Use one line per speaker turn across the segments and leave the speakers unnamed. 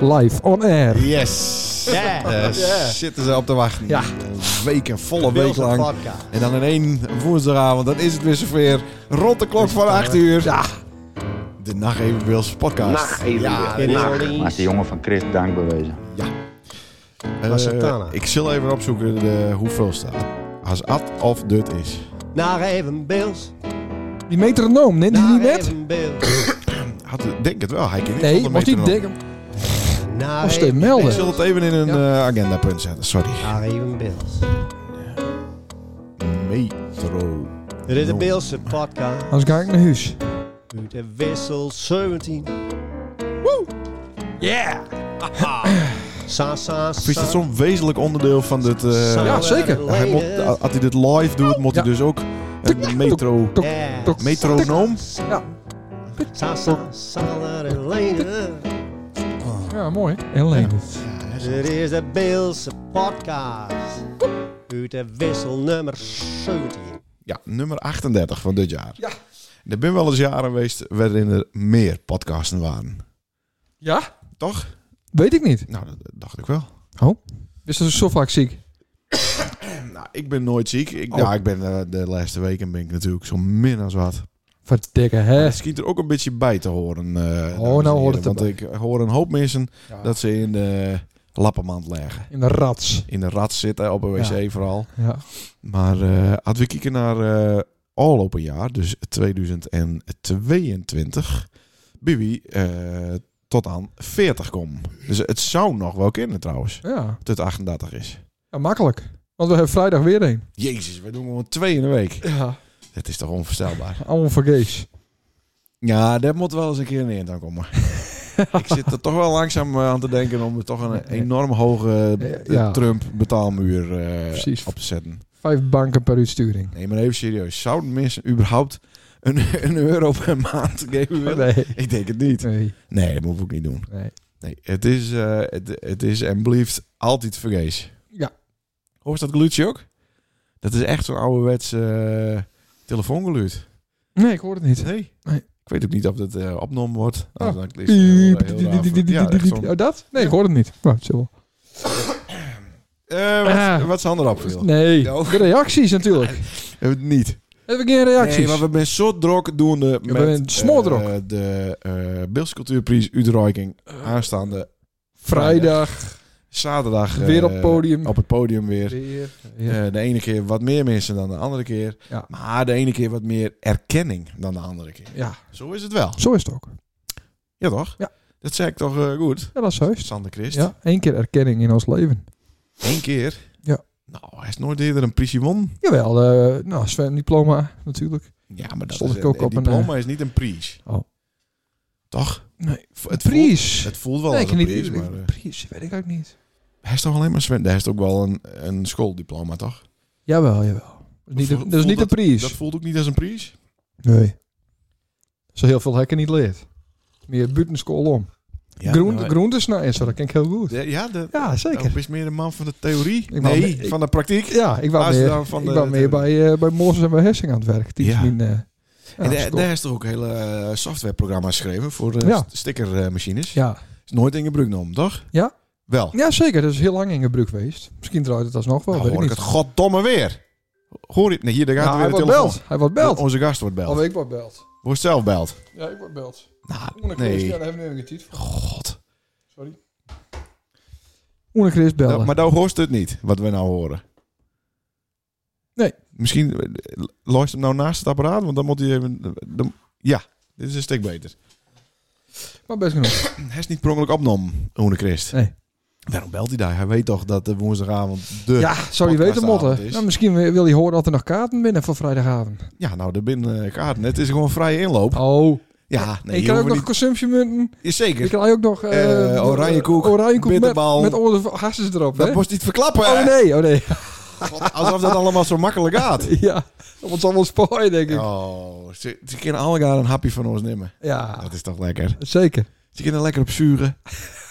Live on air.
Yes. Eh,
Ja.
Daar
Ja.
zitten ze op te wachten.
Ja.
Een week, een volle week
Wilson
lang.
Vodka.
En dan in één woensdagavond, dan is het weer zover. Rond de klok van 8 uur.
Ja.
De Nacht Even Wils podcast.
Nacht Even
Ja,
Wils.
dit-
Nacht.
Maar is die jongen van Chris dank bewezen.
eh,
Was het Tana?
ik zal even opzoeken de, hoeveel staat. Als at of dut is.
Naar even Bills.
Die metronoom, neemt hij
Nou,
Naar
niet met?
even Bills.
Had, denk het wel. Hij kan niet
Nee,
zonder
was die
metronoom.
dik.
Naar
Moest
even
even
Ik
melden.
zal het even in een
Ja.
eh, agendapunt zetten. Sorry.
Naar even Bills.
Metro.
Dit is de
No.
Beelse podcast.
Anders ga ik naar huis.
Uit de wissel 17. Woo! Yeah! sa, sa,
Is
sa.
dat zo'n wezenlijk onderdeel van dit... eh,
Somewhere
Ja, zeker.
Hij moet, eh,
later.
als hij dit live doet, moet hij
Ja.
dus ook een metro,
tuk,
Yeah.
tuk.
metronoom.
Ja.
Sa, sa, sa, later, later.
Ja, mooi. En Lenus.
Dit is de Beelse podcast. Uit de wissel nummer 17.
Ja, nummer 38 van dit jaar.
Ja.
Er zijn wel eens jaren geweest waarin er meer podcasten waren.
Ja?
Toch?
Weet ik niet.
Nou, dat dacht ik wel.
Is dat zo vaak ziek?
Nou, ik ben nooit ziek. Ik,
Oh.
Ja, ik ben eh, de laatste weken ben ik natuurlijk zo min als wat.
Verdikke, hè?
Het schiet er ook een beetje bij te horen. eh, dames en
nou hoort
heren,
het
Want
erbij.
ik hoor een hoop mensen
Ja.
dat ze in de lappenmand leggen.
In de rats.
In de rat zitten, op een wc vooral.
Ja.
Maar eh als we kijken naar eh al op een jaar, dus 2022, Bibi eh, tot aan 40 kom. Dus het zou nog wel kunnen trouwens,
Ja.
tot 38 is.
ja. Makkelijk. Want we hebben vrijdag weer een.
Jezus, we doen gewoon twee in de week.
Ja.
Dat is toch onvoorstelbaar.
Allemaal vergeefs.
Ja, dat moet wel eens een keer in de eind aan komen. Ik zit er toch wel langzaam eh, aan te denken om er toch een enorm hoge eh,
Ja.
Trump betaalmuur eh,
Precies.
op te zetten.
Vijf banken per uitsturing.
Nee, maar even serieus. Zouden mensen überhaupt een, een euro per maand geven willen?
Nee.
Ik denk het niet.
Nee.
Nee, dat moeten we ook niet doen.
Nee.
Nee, het is, eh, het, het is en blijft altijd vergees.
Ja.
Hoor je dat geluidje ook? Dat is echt zo'n ouderwets eh telefoongeluid.
Nee, ik hoor het niet.
Nee.
Nee.
Ik weet ook niet of dat eh, opgenomen wordt.
Oh.
Nou, dan is het heel- heel raar voor- ja, echt zo'n-
Oh, dat? Nee, ik hoor het niet. Nou, het zal wel.
Eh, wat-
Ah.
Wat is Sander opgevallen?
Nee,
Ja, ook.
de reacties natuurlijk.
Eh, Niet.
Hebben we geen reacties?
Nee, maar we zijn zo druk doende met
zijn smoordrok.
eh, de eh Beeldse Cultuurprijs Uitreiking aanstaande
Vrijdag,
zaterdag. eh,
weer op het podium.
Op het podium weer.
Ja.
Eh, de ene keer wat meer mensen dan de andere keer.
Ja.
Maar de ene keer wat meer erkenning dan de andere keer.
ja,
Zo is het wel.
zo is het ook.
Ja, toch?
Ja.
Dat zei ik toch eh, goed?
Ja, dat is heus.
Sander Christ.
Ja, één keer erkenning in ons leven.
Eén keer.
Ja.
Nou, hij is nooit eerder een prisje won.
Jawel, eh nou, Sven, diploma natuurlijk.
Ja, maar dat
Stond
is,
ik ook
een-
op
een
een, eh,
diploma is niet een prijs.
Oh.
Toch?
Nee,
V-
het
Het
Pries.
Voelt, het voelt wel
nee,
als
ik
een
niet.
prijs, maar... eh,
Pries, weet ik ook niet.
hij is toch alleen maar Sven? Hij heeft ook wel een, een schooldiploma, toch?
Jawel, jawel. Dat is niet,
Voel-
dat is
voelt
niet een
Dat
Pries.
voelt ook niet als een prijs?
Nee. Zo heel veel hekken niet leert. Meer buitenskool om.
Ja,
Groente,
maar-
groentesnijers, dat ken ik heel goed.
Ja, Nou, de,
Ja, zeker.
Elp is meer een man van de theorie.
Ik wou-
nee,
ik-
van de praktijk.
Ja, ik was
Als
meer,
dan van
ik
de-
wou meer
de-
bij, eh, bij Mozes en bij Hessing aan het werk. Die is
Ja.
mijn, eh, ja,
en daar-
school.
daar is toch ook hele eh, softwareprogramma's geschreven voor eh,
Ja.
stickermachines.
ja.
Is nooit in gebruik genomen, toch?
Ja.
Wel.
ja, zeker. Dat is heel lang in gebruik geweest. Misschien draait het alsnog wel,
Nou,
weet ik
hoor ik
niet.
het goddomme weer. Hoor je? Nee, hier, daar gaat
Nou, hij
weer de
wordt
telefoon. Oh,
belt. Hij wordt belt.
Onze gast wordt belt.
Of ik word belt.
Wordt zelf belt.
Ja, ik word belt.
Nou,
Oene
nee.
hebben we geen tijd voor.
God.
Sorry. Oene Chris bellen.
Dat- maar nou hoort het niet, wat we nou horen.
Nee.
Misschien eh, luister hem nou naast het apparaat, want dan moet hij even... eh, dan- ja, dit is een stuk beter.
maar best genoeg.
Hij is niet per ongeluk opgenomen, Oene Christ.
Nee.
Waarom belt hij daar? Hij weet toch dat de woensdagavond de...
Ja, zou je weten,
podcastavond
Motte.
is.
Nou, misschien wil je horen dat er nog kaarten binnen voor vrijdagavond.
Ja, nou, er binnen eh, kaarten. Het is gewoon vrije inloop.
Oh.
Ja, nee,
ik
hier
krijg ook
hoeven we
nog consumptiemunten.
niet... Zeker.
Ik krijg ook nog... eh
Eh, oranjekoek,
Oranjekoek met,
bitterbal.
met onze hasses erop.
Dat
hè?
moest niet verklappen.
Oh nee, oh nee.
God, Alsof dat allemaal zo makkelijk gaat.
Ja, dat wordt allemaal spooien, denk ik. Ja,
Oh, ze, ze kunnen allemaal een hapje van ons nemen. Dat is toch lekker.
zeker.
Ze kunnen lekker op zuren.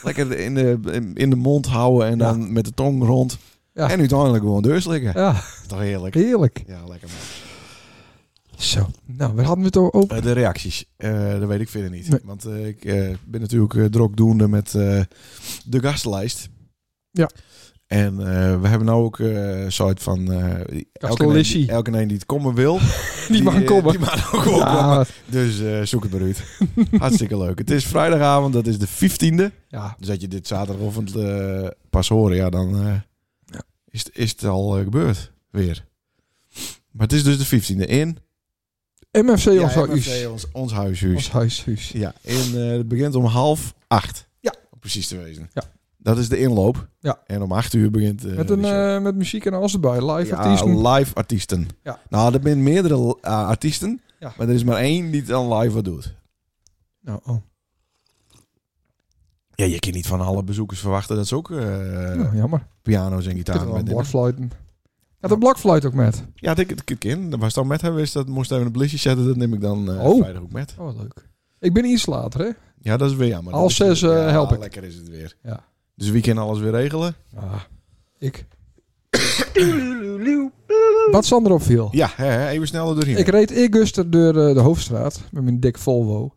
lekker in de, in, in de mond houden en dan met de tong rond.
Ja.
En uiteindelijk gewoon deurs liggen.
Ja,
Dat is toch heerlijk.
heerlijk.
Ja, lekker man.
Zo, nou, we hadden het al over.
Eh, de reacties, eh, dat weet ik verder niet.
Nee.
Want eh, ik eh, ben natuurlijk eh, drokdoende met eh, de gastenlijst.
Ja.
En eh, we hebben nou ook eh soort van... eh, elke, een
Gastenlissie.
die, elke een die het komen wil.
Die mag
eh,
komen.
Die mag ook komen.
Ja,
Dus eh, zoek het maar uit. Hartstikke leuk. Het is vrijdagavond, dat is de 15e.
ja,
Dus dat je dit zaterdagochtend eh, pas horen, ja, dan eh,
Ja.
Is, het- is het al eh, gebeurd. Weer. Maar het is dus de 15e in...
MFC
Ja,
of zo.
MFC, ons, ons huishuis.
eh, Ons huishuis.
Ja, en eh, het begint om half acht.
Ja.
Om precies te wezen.
Ja.
Dat is de inloop.
Ja.
En om acht uur begint... eh,
Met, een,
de show.
eh, met muziek en alles erbij. Live
Ja,
artiesten.
live artiesten.
Ja.
Nou, er zijn meerdere eh, artiesten.
Ja.
Maar er is maar één die het dan live wat doet.
Nou, oh.
Ja, je kan niet van alle bezoekers verwachten dat ze ook eh,
Nou, jammer.
piano's en
Ik heb
gitaren
wel een
meenemen.
blokfluiten. Ja, de blokfluit ook met.
Ja, ik het kind. Dat was dan met hem geweest. Dat moest even een blisje zetten. Dat neem ik dan eh,
Oh.
vrijdag ook met.
Oh, leuk. Ik ben iets later, hè?
Ja, dat is weer jammer.
Half
Dat is-
zes, eh,
ja,
help ik.
Lekker is het weer.
Ja.
Dus wie kan alles weer regelen?
Ah, ik. Wat Sander opviel.
Ja, hè, hè, even snel er doorheen.
Ik reed eergisteren door eh, de hoofdstraat met mijn dik Volvo.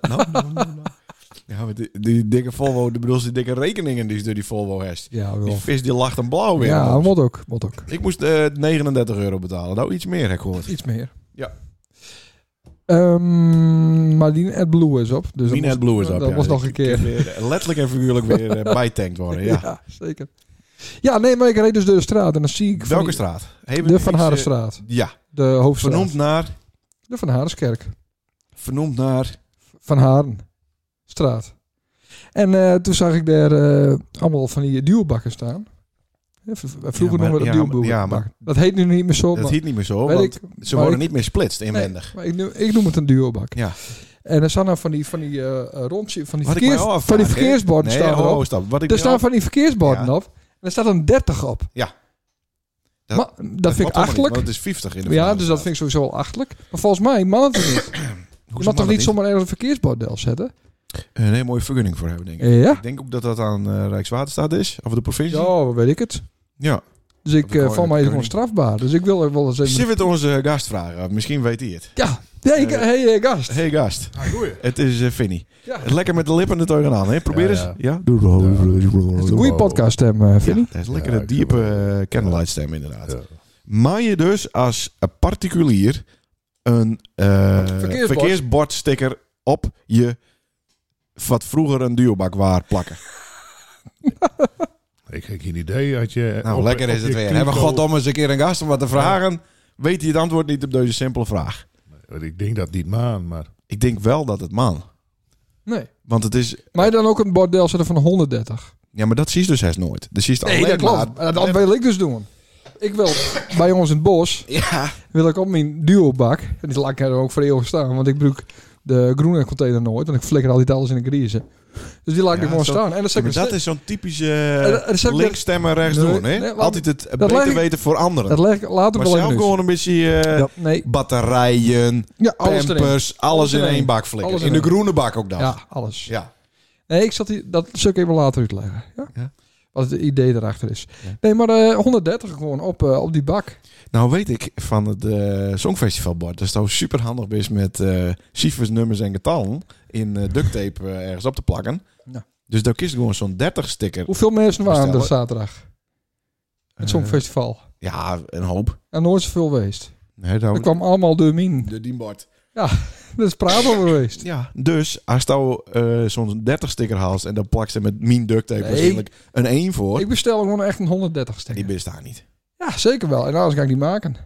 Nou, nou, nou, nou. Ja, maar die, die dikke Volvo, de bedoel die dikke rekeningen die ze door die Volvo heeft.
Ja,
Die
wel.
vis die lacht een blauw weer.
Oh.
Nou,
Ja, moet ook, moet ook.
ik moest eh, 39 euro betalen. Nou, iets meer heb ik gehoord.
Iets meer.
Ja.
Ehm, maar die AdBlue is op. Dus dat
Mine
moest-
het Blue is op.
Dat
ja.
was
Dus
nog een
ik- ik
keer.
heb weer, eh, letterlijk en figuurlijk weer eh, bijtankt worden. Ja.
Ja, zeker. Ja, nee, maar ik reed dus door de straat en dan zie ik... van
Welke
die-
straat? Hebben
De
we
Van
iets, eh,
Harenstraat.
Ja,
De hoofdstraat.
vernoemd naar,
De Van Harenskerk.
vernoemd naar
Van Harenstraat. En eh, toen zag ik daar eh, allemaal van die duwbakken staan. Eh, v- v- Vroeger
maar-
noemden we dat
ja, maar-
duwbakken.
ja, maar-
dat heet nu niet meer zo.
dat
maar-
hiet niet meer zo,
weet
want
ik,
ze
maar
worden
ik-
niet meer splitst inwendig.
Maar ik, noem, ik noem het een duobak.
Ja.
En er staan dan van die, van die eh, eh, rondje, van die,
Wat ik mij
verkeers,
al afvraag,
van die
hè?
verkeersborden
Nee,
staan
oh,
erop.
oh, stop. Wat ik
er
me
staan
af-
van die verkeersborden
Ja.
op. En er staat een 30 op.
Ja.
Dat,
Dat-
maar, dat, vind ik
klopt allemaal niet,
achterlijk.
want het is 50 in de
Ja, dus dat vind ik sowieso al achterlijk. Maar volgens mij man het er niet. Je mag toch niet zomaar ergens een verkeersbord erop zetten?
Een hele mooie vergunning voor hebben, denk ik.
Ja?
Ik denk ook dat dat aan eh, Rijkswaterstaat is, of de provincie. Ja.
Ja, weet ik het. Dus ik,
Dat kan-
eh, van mij is het gewoon
dat kan
strafbaar. Dus ik wil er wel eens even...
Zullen we het onze gast vragen? Misschien weet hij het.
Ja, hey,
Eh,
hey eh, gast.
Hey gast, het is eh, Vinnie.
Ja.
Lekker met de lippen er tegenaan, hè? Probeer
Ja,
eens.
ja.
Ja? Doe het
Dat is een goede podcast hem, eh,
Ja,
Vinnie.
dat is lekker
Ja,
een
ik vind
diepe
wel.
eh, candlelight-stem, inderdaad.
Ja.
Maar je dus als een particulier een eh,
Verkeersbord.
verkeersbordsticker op je, wat vroeger een duobak waar, plakken.
Ik heb geen idee. Had je
Nou,
op-
lekker
op
is het
je
weer.
kliko-
Hebben we goddomme eens een keer een gast om wat te vragen? Weet hij het antwoord niet op deze simpele vraag?
Want Ik denk dat niet maan, maar
Ik denk wel dat het man.
Nee.
Want het is...
Maar dan ook een bordel zetten van 130.
Ja, maar dat zie je dus hest nooit. Dus zie je het
Nee,
alleen
dat klopt.
maar-
Maar Dat wil ik dus doen. Ik wil bij ons in het bos
Ja.
wil ik op mijn duobak. En die laat ik er ook voor eeuwig staan. Want ik gebruik de groene container nooit. Want ik flikker altijd alles in de griezen. Dus die laat ik
Ja,
er gewoon
zo-
staan. En dat
Ja,
zet ik
maar
er
dat
steeds-
is zo'n
Eh, dat-
typische
dat is ook
links stemmen rechts
Nee,
doen. Hè?
nee, want
Altijd het
leg
beter
ik-
weten voor anderen.
dat leg ik later
maar
wel
zelf
even uit.
gewoon een beetje eh,
Ja, nee.
batterijen,
Ja, alles erin.
pampers, alles in
erin.
één bak flikken.
Alles
in de
erin.
groene bak ook dan.
Ja, alles.
Ja.
Nee, ik zat hier, dat zal ik even later uitleggen. Ja?
Ja.
Wat het idee erachter is.
Ja.
Nee, maar eh, 130 gewoon op, eh, op die bak.
Nou weet ik van het eh, Songfestivalbord dat het zo super handig is met eh, cijfers, nummers en getallen in eh, duct tape eh, ergens op te plakken.
Ja.
Dus daar kies ik gewoon zo'n 30 sticker.
Hoeveel mensen waren er
Bestellen.
zaterdag? Het Songfestival.
Eh, ja, een hoop.
En nooit zoveel geweest.
Nee, dan-
Dat kwam allemaal door min.
De dienbord.
Dat is praten geweest.
Ja, dus als je eh zo'n 30 sticker haalt en dan plakt ze met min duct tape
Nee.
waarschijnlijk een 1 voor,
Ik bestel gewoon echt een 130
die
stekker.
bestaat niet.
Ja, zeker wel. En anders ga ik die maken.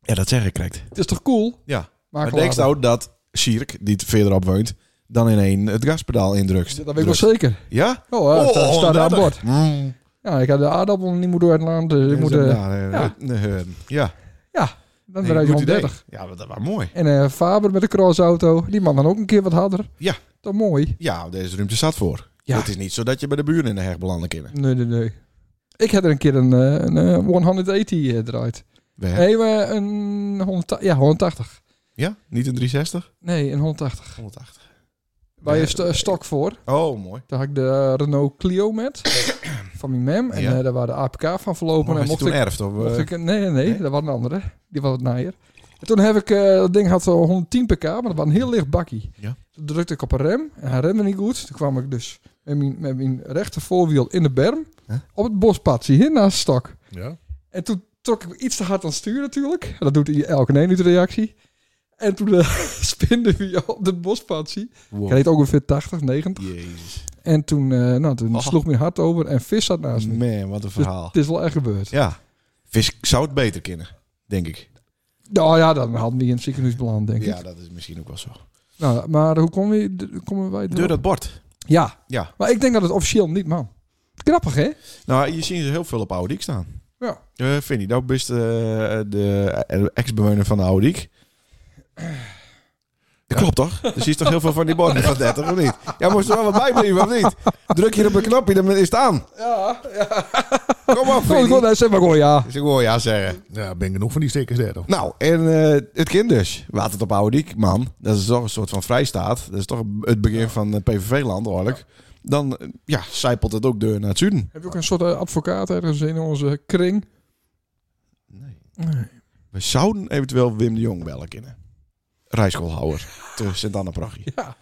Ja, dat zeg ik correct.
Het is toch cool?
Ja.
Maak
Maar denk
later.
nou dat Sierk, die het verderop woont, dan in één het gaspedaal indrukt. Dus-
Dat weet ik wel zeker.
Ja?
Oh, ja,
Oh,
staat- staat daar aan bord.
130. Mm.
Ja, ik had de aardappel niet moeten uit land. Dus ik moet, eh,
ja.
ja.
eh, eh, ja.
dan
Nee,
weer uit
goed idee.
130.
Ja, dat, dat was mooi.
En eh, Faber met de crossauto. Die man dan ook een keer wat harder.
Ja.
Dat mooi.
Ja, deze ruimte staat voor.
Ja.
Het is niet zo dat je bij de buren in de heg belanden kan.
Nee, nee, nee. Ik had er een keer een, eh, een eh, 180 eh, draait.
We hebben-
Nee, maar een 180. Ja, 180.
Ja? Niet een 360?
Nee, een 180.
180.
Bij een st- stok voor.
Oh, mooi.
Daar had ik de eh, Renault Clio met. van mijn mem. En
Ja.
eh, daar waren de APK van verlopen.
Maar
en
als
mocht
je toen
ik,
erft? Of, eh,
mocht ik... Nee, nee, nee,
nee?
Dat was een andere. Die was wat naaier. En toen heb ik... eh, dat ding had zo'n 110 pk. Maar dat was een heel licht bakkie.
Ja.
Toen drukte ik op een rem. En hij remde niet goed. Toen kwam ik dus met mijn, met mijn rechter voorwiel in de berm.
Huh?
Op het bospad. Zie je, naast de stok.
Ja?
En toen trok ik me iets te hard aan het stuur natuurlijk. En Dat doet hij elke 1 uur reactie. En toen eh, spinde hij op de bospatsie. Ik
wow.
reed ongeveer 80, 90.
Jezus.
En toen, eh, nou, toen
Oh. Mm.
sloeg mijn hart over en vis zat naast me.
Man, wat een
Dus
verhaal.
het is wel echt gebeurd.
Ja. Vis zou het beter kennen, denk ik.
Nou ja, dan hadden we in het ziekenhuis beland, denk
Ja,
ik.
dat is misschien ook wel zo.
Nou, maar hoe komen we, d- komen wij
Door
erop?
dat bord.
Ja,
Ja.
maar ik denk dat het officieel niet, man. Knappig, hè?
Nou, je ziet ze heel veel op Audiek staan.
Ja.
Eh, vind je, dat is de, de ex-bewoner van de Audiek. Dat klopt toch? Dus je ziet toch heel veel van die borden van 30, of niet? Ja, moest er wel wat bij blijven, of niet? Druk je op een knopje, dan is het aan.
Ja, ja. Oh,
Kom op,
Gewoon,
Vinnie.
zeg maar gewoon ja.
Dus ik hoor ja zeggen.
Ja, ben genoeg van die stickers daar toch?
Nou, en eh, het kind dus. Water op Audiek, man. Dat is toch een soort van vrijstaat. Dat is toch het begin van eh, PVV-land, eigenlijk. Dan, eh, ja, zijpelt het ook deur naar het zuiden.
Heb je ook een soort eh, advocaat ergens in onze kring?
Nee.
Nee.
We zouden eventueel Wim de Jong bellen kunnen. Rijschoolhouwer. te sint anna prachtje
Ja.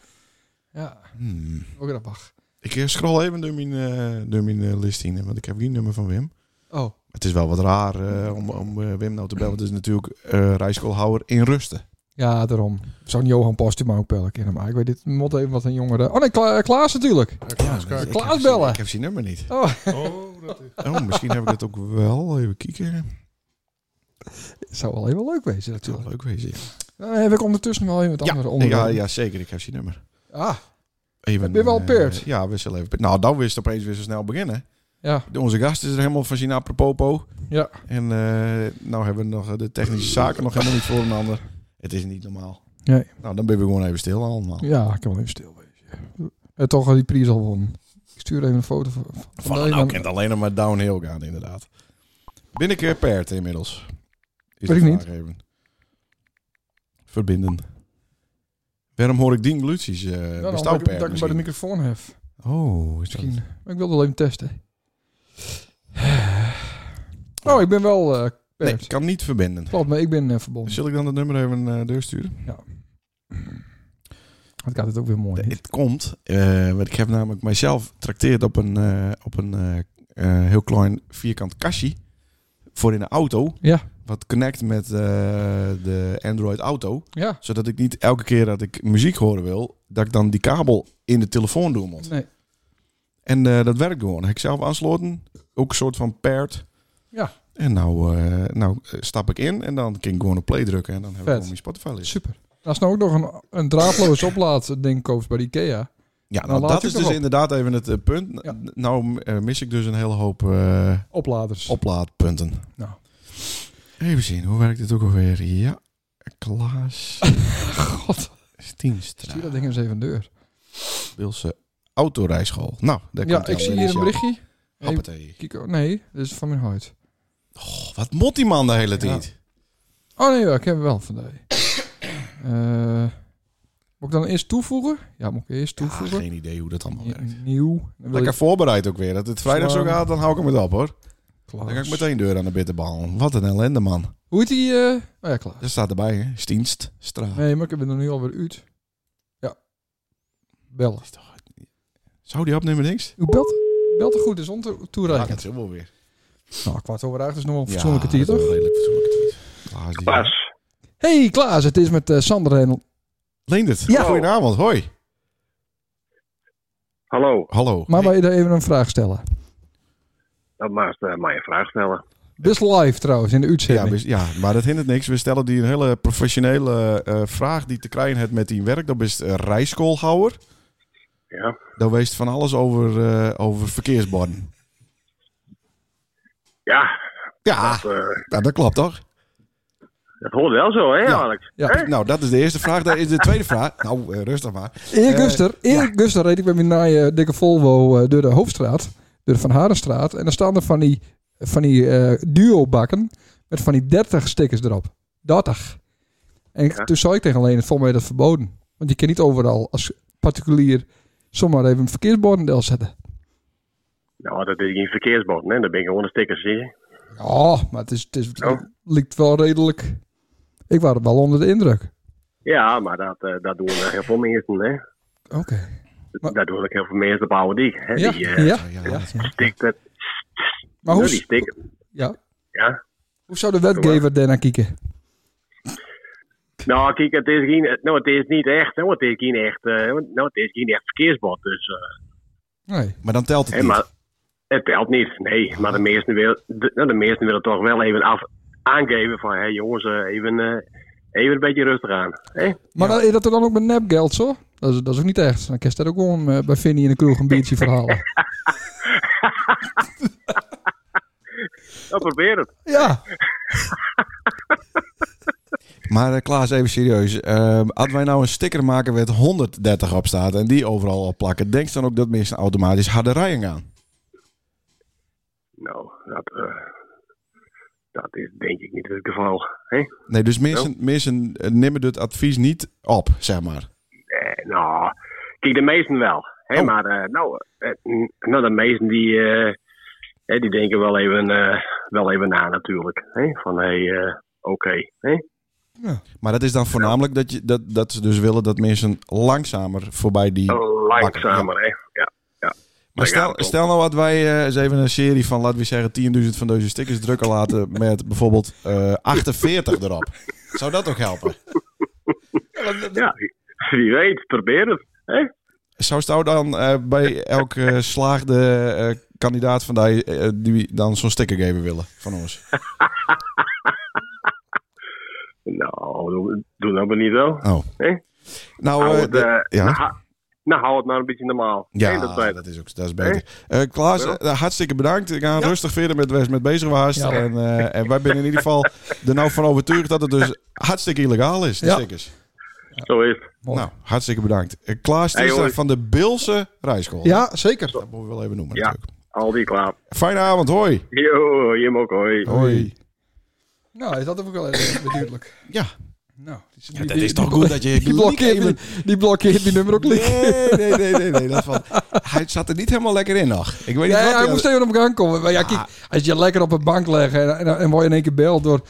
Ja,
Hmm.
ook grappig.
Ik eh, scroll even door mijn, eh, door mijn eh, list heen, want ik heb geen nummer van Wim.
Oh.
Het is wel wat raar eh, om, om eh, Wim nou te bellen. want Het is natuurlijk eh rijschoolhouwer in rusten.
Ja, daarom. Zo'n Johan Postuma ook bellen kennen. Maar ik weet dit moet even wat een jongere... Oh nee, Kla- Klaas natuurlijk.
Ja, Klaas Kaak.
dus
Klaas bellen.
Ik heb zijn nummer niet.
Oh,
Oh, dat is...
Oh, misschien heb ik het ook wel. Even kijken.
zou wel even leuk wezen
Het zou
natuurlijk.
leuk wezen. ja.
Dan heb ik ondertussen wel even het andere
Ja,
onderwerp.
ja, ja, zeker. Ik heb zijn nummer.
Ah,
Even,
Heb je wel
eh,
peerd?
ja, we zullen even peerd. Nou, dan wist het opeens weer zo snel beginnen.
ja.
De- Onze gast is er helemaal van zien apropopo.
Ja.
En eh, nou hebben we nog eh, de technische zaken nog helemaal niet voor een ander. Het is niet normaal.
Nee.
Nou, dan ben we gewoon even stil allemaal.
Ja, ik kan wel even stil wezen. En toch had die prijs al gewonnen. Ik stuur even een foto van...
Van,
Nee,
nou
dan-
kent alleen nog maar downhill gaan, inderdaad. Ben ik eh, peerd inmiddels? Is
Weet
de
ik
vraag even. Verbinden. Waarom hoor ik die glutjes? eh
Ja, dan
bestaan
dat ik-
peerd
dat ik bij de
misschien?
microfoon heb.
Oh, is dat-
Misschien. Maar ik wilde wel even testen. Oh, ik ben wel eh
Nee,
pert.
ik kan niet verbinden.
Klopt, maar ik ben eh, verbonden.
Zal ik dan het nummer even eh doorsturen?
Het gaat het ook weer mooi.
Het komt, eh, want ik heb namelijk mijzelf trakteerd op een, eh, op een eh, eh, heel klein vierkant kastje voor in de auto.
Ja.
Wat connect met eh, de Android Auto.
Ja.
Zodat ik niet elke keer dat ik muziek horen wil, dat ik dan die kabel in de telefoon doen moet.
Nee.
En eh, dat werkt gewoon. Heb ik zelf aansloten. Ook een soort van paard.
Ja.
En nou, eh, nou eh, stap ik in en dan kan ik gewoon op play drukken. En dan heb ik
Vet.
gewoon mijn Spotify list.
Super. Als nou ook nog een, een draadloos oplaadding koopt bij de Ikea.
Ja,
Dan
nou,
laat
dat
je
is
het
dus
erop.
inderdaad even het eh, punt.
Ja.
N- Nou m- eh, mis ik dus een hele hoop eh,
Opladers.
oplaadpunten.
Nou.
Even zien, hoe werkt dit ook alweer? Ja, Klaas
God.
Stienstra,
Stuur dat ding eens even de deur.
Bilse autorijschool. Nou, daar
Ja,
komt hij
ik zie
alweer,
hier een
ja.
berichtje. Hey,
Hoppatee.
kijk, oh, nee, dit is van mijn huid.
Goh, wat mot die man de hele
Ja.
tijd?
Oh nee, ja, ik heb hem wel van die. Eh, moet ik dan eerst toevoegen? Ja, moet ik eerst
Ja,
toevoegen.
geen idee hoe dat allemaal werkt.
Nieuw. Dan wil
Lekker
ik-
voorbereid ook weer. Dat het vrijdag zo
Slaan.
gaat, dan hou ik hem het op hoor.
Klaas.
Dan ga ik meteen deur aan de bitterbal. Wat een ellende man.
Hoe heet die? eh? Oh ja, klaar.
Dat staat erbij hè. Stienstra.
Nee, maar ik heb hem er nu alweer uit. Ja. Bel.
Zou die opnemen niks?
U belt, belt er goed, is on
Ja, dat
toereikend.
is helemaal weer.
Nou, kwart over acht is nog wel een fatsoenlijke titel.
dat is wel redelijk fatsoenlijke titel. Klaas. die-
Hey Klaas, het is met eh, Sander en...
Leendert,
Ja.
goedenavond. Hoi.
Hallo,
Hallo.
Maar
Hey,
wil je daar even een vraag stellen?
dat mag eh, mij een vraag stellen.
Dit is live trouwens, in de
ja,
uitzending.
we- ja, maar dat hindert niks. We stellen die een hele professionele eh, vraag die te krijgen hebt met die werk. Dat is eh, rijschoolhouwer.
Ja.
Daar weest van alles over, eh, over verkeersborden.
Ja,
Ja,
dat, eh,
nou, dat klopt toch?
dat hoort wel zo, hè,
Ja.
Alex?
Ja.
Hè?
Nou, dat is de eerste vraag. Dat is de tweede vraag. Nou, eh, rustig maar.
Erik
Eh,
Guster, Erik Guster reed ik met mijn naaie dikke Volvo eh, door de Hoofdstraat, door de Van Harenstraat. En dan staan er van die, van die eh, duo-bakken met van die 30 stickers erop. 30. En ik-
Ja.
toen zei ik tegen alleen, volgens mij is dat verboden. Want je kan niet overal als particulier zomaar even een verkeersbordendel zetten.
Nou, dat is geen verkeersbord, hè. Dat ben ik gewoon een sticker, zie je.
Ja, maar het, is, het, is, het
Oh.
lijkt wel redelijk... Ik was wel onder de indruk.
Ja, maar dat, eh, dat doen eh, heel veel mensen, hè.
Oké. Maar-
Dat doen ook heel veel mensen op oude dik, hè.
Ja,
Die
ja,
eh
ja.
stikt het.
Maar
Nou,
hoe,
die
s-
stikt
ja,
ja.
hoe zou de wetgever daarnaar kijken?
Nou, kijk, het is, geen, nou, het is niet echt, hè, want het is geen echt, eh, want- nou, het is geen echt verkeersbord. Dus, eh,
Nee.
Maar dan telt het
hè,
niet.
maar het telt niet, nee. Maar de meesten, wil, de, nou, de meesten willen toch wel even af, aangeven van, hé jongens, eh, even, eh, even een beetje rustig aan. Hè?
Maar dan- is dat er dan ook met nepgeld zo? Dat is, dat is ook niet echt. Dan kan je dat ook gewoon eh, bij Vinnie in de kroeg een biertje verhalen.
Nou, probeer het.
ja.
Maar eh, Klaas, even serieus. Ehm hadden wij nou een sticker maken waar het 130 op staat en die overal op plakken, denk je dan ook dat mensen automatisch harde rijen gaan?
Nou, dat, eh, dat is denk ik niet het geval. Hè?
Nee, dus mensen, mensen eh, nemen dit advies niet op, zeg maar.
Eh, nou, kijk, de meesten wel. Hè,
Oh.
Maar eh, nou, eh, n- nou, de meesten die, eh, hè, die denken wel even, eh, wel even na natuurlijk. Hè? Van, hé, eh, oké. hè.
Maar dat is dan voornamelijk dat, je, dat, dat ze dus willen dat mensen langzamer voorbij die...
Oh, Langzamer, hè. Ja.
Maar
Daar gaat
stel,
het om.
stel nou wat wij eh, eens even een serie van, laten we zeggen, 10.000 van deze stickers drukken laten met bijvoorbeeld eh, 48 erop. Zou dat ook helpen?
ja. Wie weet, probeer het. Hè?
Zou zou dan eh, bij elke eh, slaagde eh, kandidaat van die, eh, die dan zo'n sticker geven willen van ons?
Nou, doe, doe dat maar niet wel.
Oh.
Hè?
Nou,
Hou
eh,
het,
de-
eh, nou,
ja.
ha- nou, hou het maar een beetje normaal.
Ja,
Hè, dat wij-
dat is ook dat is beter. Eh, Klaas,
Wel?
eh, hartstikke bedankt. Ik ga rustig verder met West met bezig was.
Ja.
En, eh, en wij zijn in ieder geval er nou van overtuigd dat het dus hartstikke illegaal is, die
Ja.
stickers.
Zo is het.
Mooi.
Nou, hartstikke bedankt. Eh, Klaas
Hey,
Tiester
jongens.
van de Bilse Rijschool.
ja, zeker.
Dat moeten we wel even noemen
Ja.
natuurlijk.
Al die klaar.
Fijne avond, hoi.
Yo, je ook hoi.
Hoi.
Nou, is dat ook wel even beduidelijk.
Ja,
Nou, die-
dat
die-
is
die-
toch goed dat je
Die blokkeert,
even-
die, die blokkeert die nummer ook
Nee,
liggen.
nee, nee, nee, nee. Dat van, hij zat er niet helemaal lekker in nog. Ik weet niet
Ja,
wat
hij moest even op gang komen. Maar ja,
Ah.
kijk, als je lekker op een bank legt en, en, en word je in één keer beld door,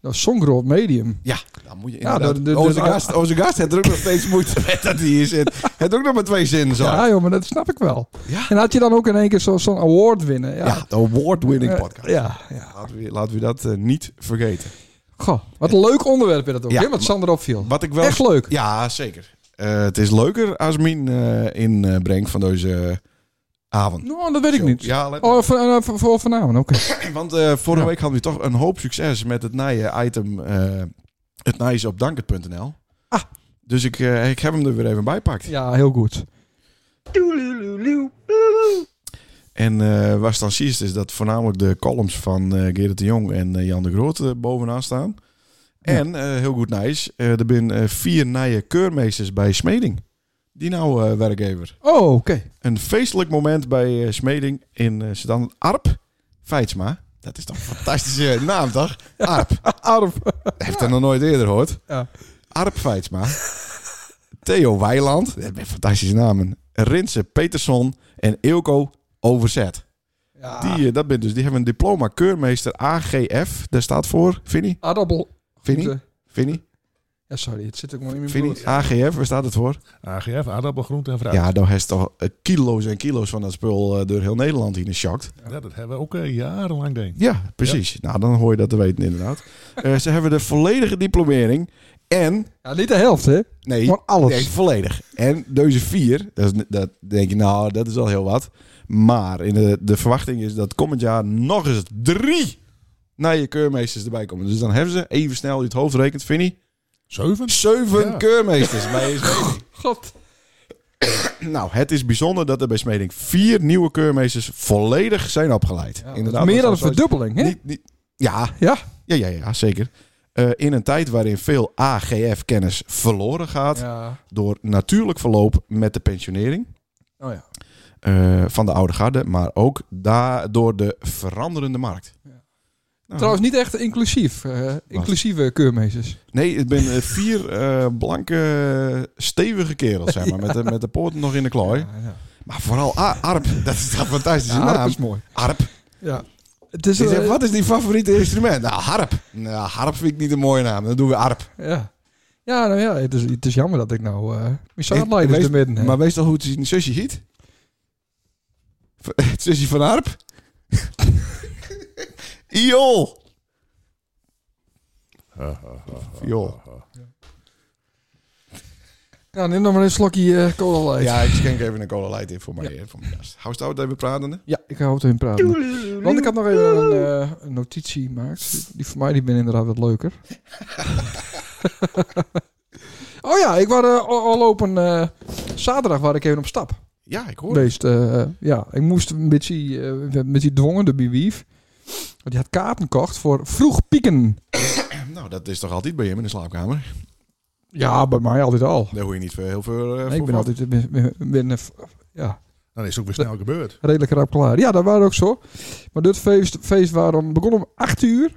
door zo'n groot medium.
Ja, dan moet je
Ja, dus
inderdaad...
de- de- de-
onze,
de-
gast, onze gast heeft er ook nog steeds moeite met dat hij hier zit. Hij heeft ook nog maar twee zinnen zo.
Ja, joh, maar dat snap ik wel.
Ja.
En had je dan ook in één keer zo- zo'n award winnen. Ja,
Ja, de award-winning
Eh,
podcast.
Ja, ja.
Laten we, laten we dat eh, niet vergeten.
Goh, wat een leuk onderwerp is dat ook,
Ja,
hè, wat Sander opviel.
Wat ik wel...
Echt leuk.
Ja, zeker. Eh, het is leuker als Mien eh, inbrengt van deze eh, avond.
Nou, dat weet ik
Zo.
niet.
Ja, let-
Oh, van, eh, van- voor vanavond, oké.
want eh, vorige week hadden we toch een hoop succes met het naaien item. eh, het naaien is op danket.nl. Ah. Dus ik, eh, ik heb hem er weer even bijpakt.
Ja, heel goed.
En eh was dan ziet is dat voornamelijk de columns van eh Gerrit de Jong en eh, Jan de Groot eh, bovenaan staan. En eh, heel goed nice, eh, er zijn eh, vier nieuwe keurmeesters bij Smeding. Die nou eh, werkgever.
Oh, oké.
Een feestelijk moment bij eh, Smeding in eh Sedan. Arp Feitsma. Dat is toch een fantastische naam, toch? Arp.
Arm.
Heeft er nog nooit eerder gehoord.
Ja.
Arp Feitsma. Theo Weiland. Dat zijn fantastische namen. Rinse Peterson en Eelco Overzet.
Ja,
Die, eh, dat bent dus, die hebben een diploma keurmeester AGF. Daar staat voor, Vinnie?
aardappel.
Vinnie? Vinnie?
Ja, sorry, het zit ook maar in mijn bloed.
Vinnie? AGF, waar staat het voor?
AGF, aardappelgroente en fruit. Ja.
Ja, daar heeft toch eh, kilo's en kilo's van dat spul eh, door heel Nederland heen geschokt.
dat hebben we ook eh, jarenlang denk ik.
Ja, precies. Nou, dan hoor je dat te weten inderdaad. Eh, ze hebben de volledige diplomering en...
Ja, niet de helft, hè?
Nee,
Gewoon alles.
nee, volledig. En deze vier, dat, is, dat denk je, nou, dat is al heel wat. Maar in de, de verwachting is dat komend jaar nog eens drie naar je keurmeesters erbij komen. Dus dan hebben ze, even snel uit het hoofd rekent, Vinnie...
Zeven?
Zeven
Ja.
keurmeesters bij Smeding.
God.
Nou, het is bijzonder dat er bij Smeding vier nieuwe keurmeesters volledig zijn opgeleid.
Inderdaad, meer dan een
dat zou-
verdubbeling, hè?
Niet, niet, ja,
Ja.
ja, ja, ja, zeker. Eh, in een tijd waarin veel AGF-kennis verloren gaat
Ja.
door natuurlijk verloop met de pensionering
Oh ja.
eh, van de oude garde, maar ook da- door de veranderende markt.
Trouwens, niet echt inclusief. eh, inclusieve keurmeesters.
Nee, het zijn eh, vier eh, blanke, stevige kerels, zeg maar. Met de, met de poorten nog in de klooi.
Ja, ja.
Maar vooral A- Arp. Dat is een fantastische
Ja,
naam.
harp is mooi.
Arp.
Ja. Het is,
Ze
eh,
zegt, wat is die favoriete instrument? Nou, harp. Nou, harp vind ik niet een mooie naam. Dan doen we arp.
ja. ja, nou ja, het is, het is jammer dat ik nou eh mijn zaadlijn
Wees-
is er midden. heb.
Maar wees toch hoe het in Sushi heet? V- Sushi van harp? Iol. Iol.
Nou, neem nog maar een slokje eh, cola light.
Ja, ik schenk even een cola light in voor mij. hè, Voor mijn gast. Hou stout dat we praten.
Ja, ik hou het in praten. Want ik had nog even een, eh, een notitie gemaakt. Die voor mij die ben inderdaad wat leuker. oh ja, ik was eh, al al op een eh, zaterdag waar ik even op stap
Ja, ik hoor het.
geweest. eh, ja, ik moest een beetje, eh, een beetje dwongen, de biwief. Want die had kaarten gekocht voor vroeg pieken.
Nou, dat is toch altijd bij hem in de slaapkamer?
Ja, bij mij altijd al.
Daar hoor je niet veel, heel veel
Nee,
eh, voor
ik ben
van.
altijd ben, ben, ben, eh, ja,
Dan is het ook weer snel gebeurd.
redelijk rap klaar. Ja, dat waren ook zo. Maar dit feest, feest waarom, begon om 8 uur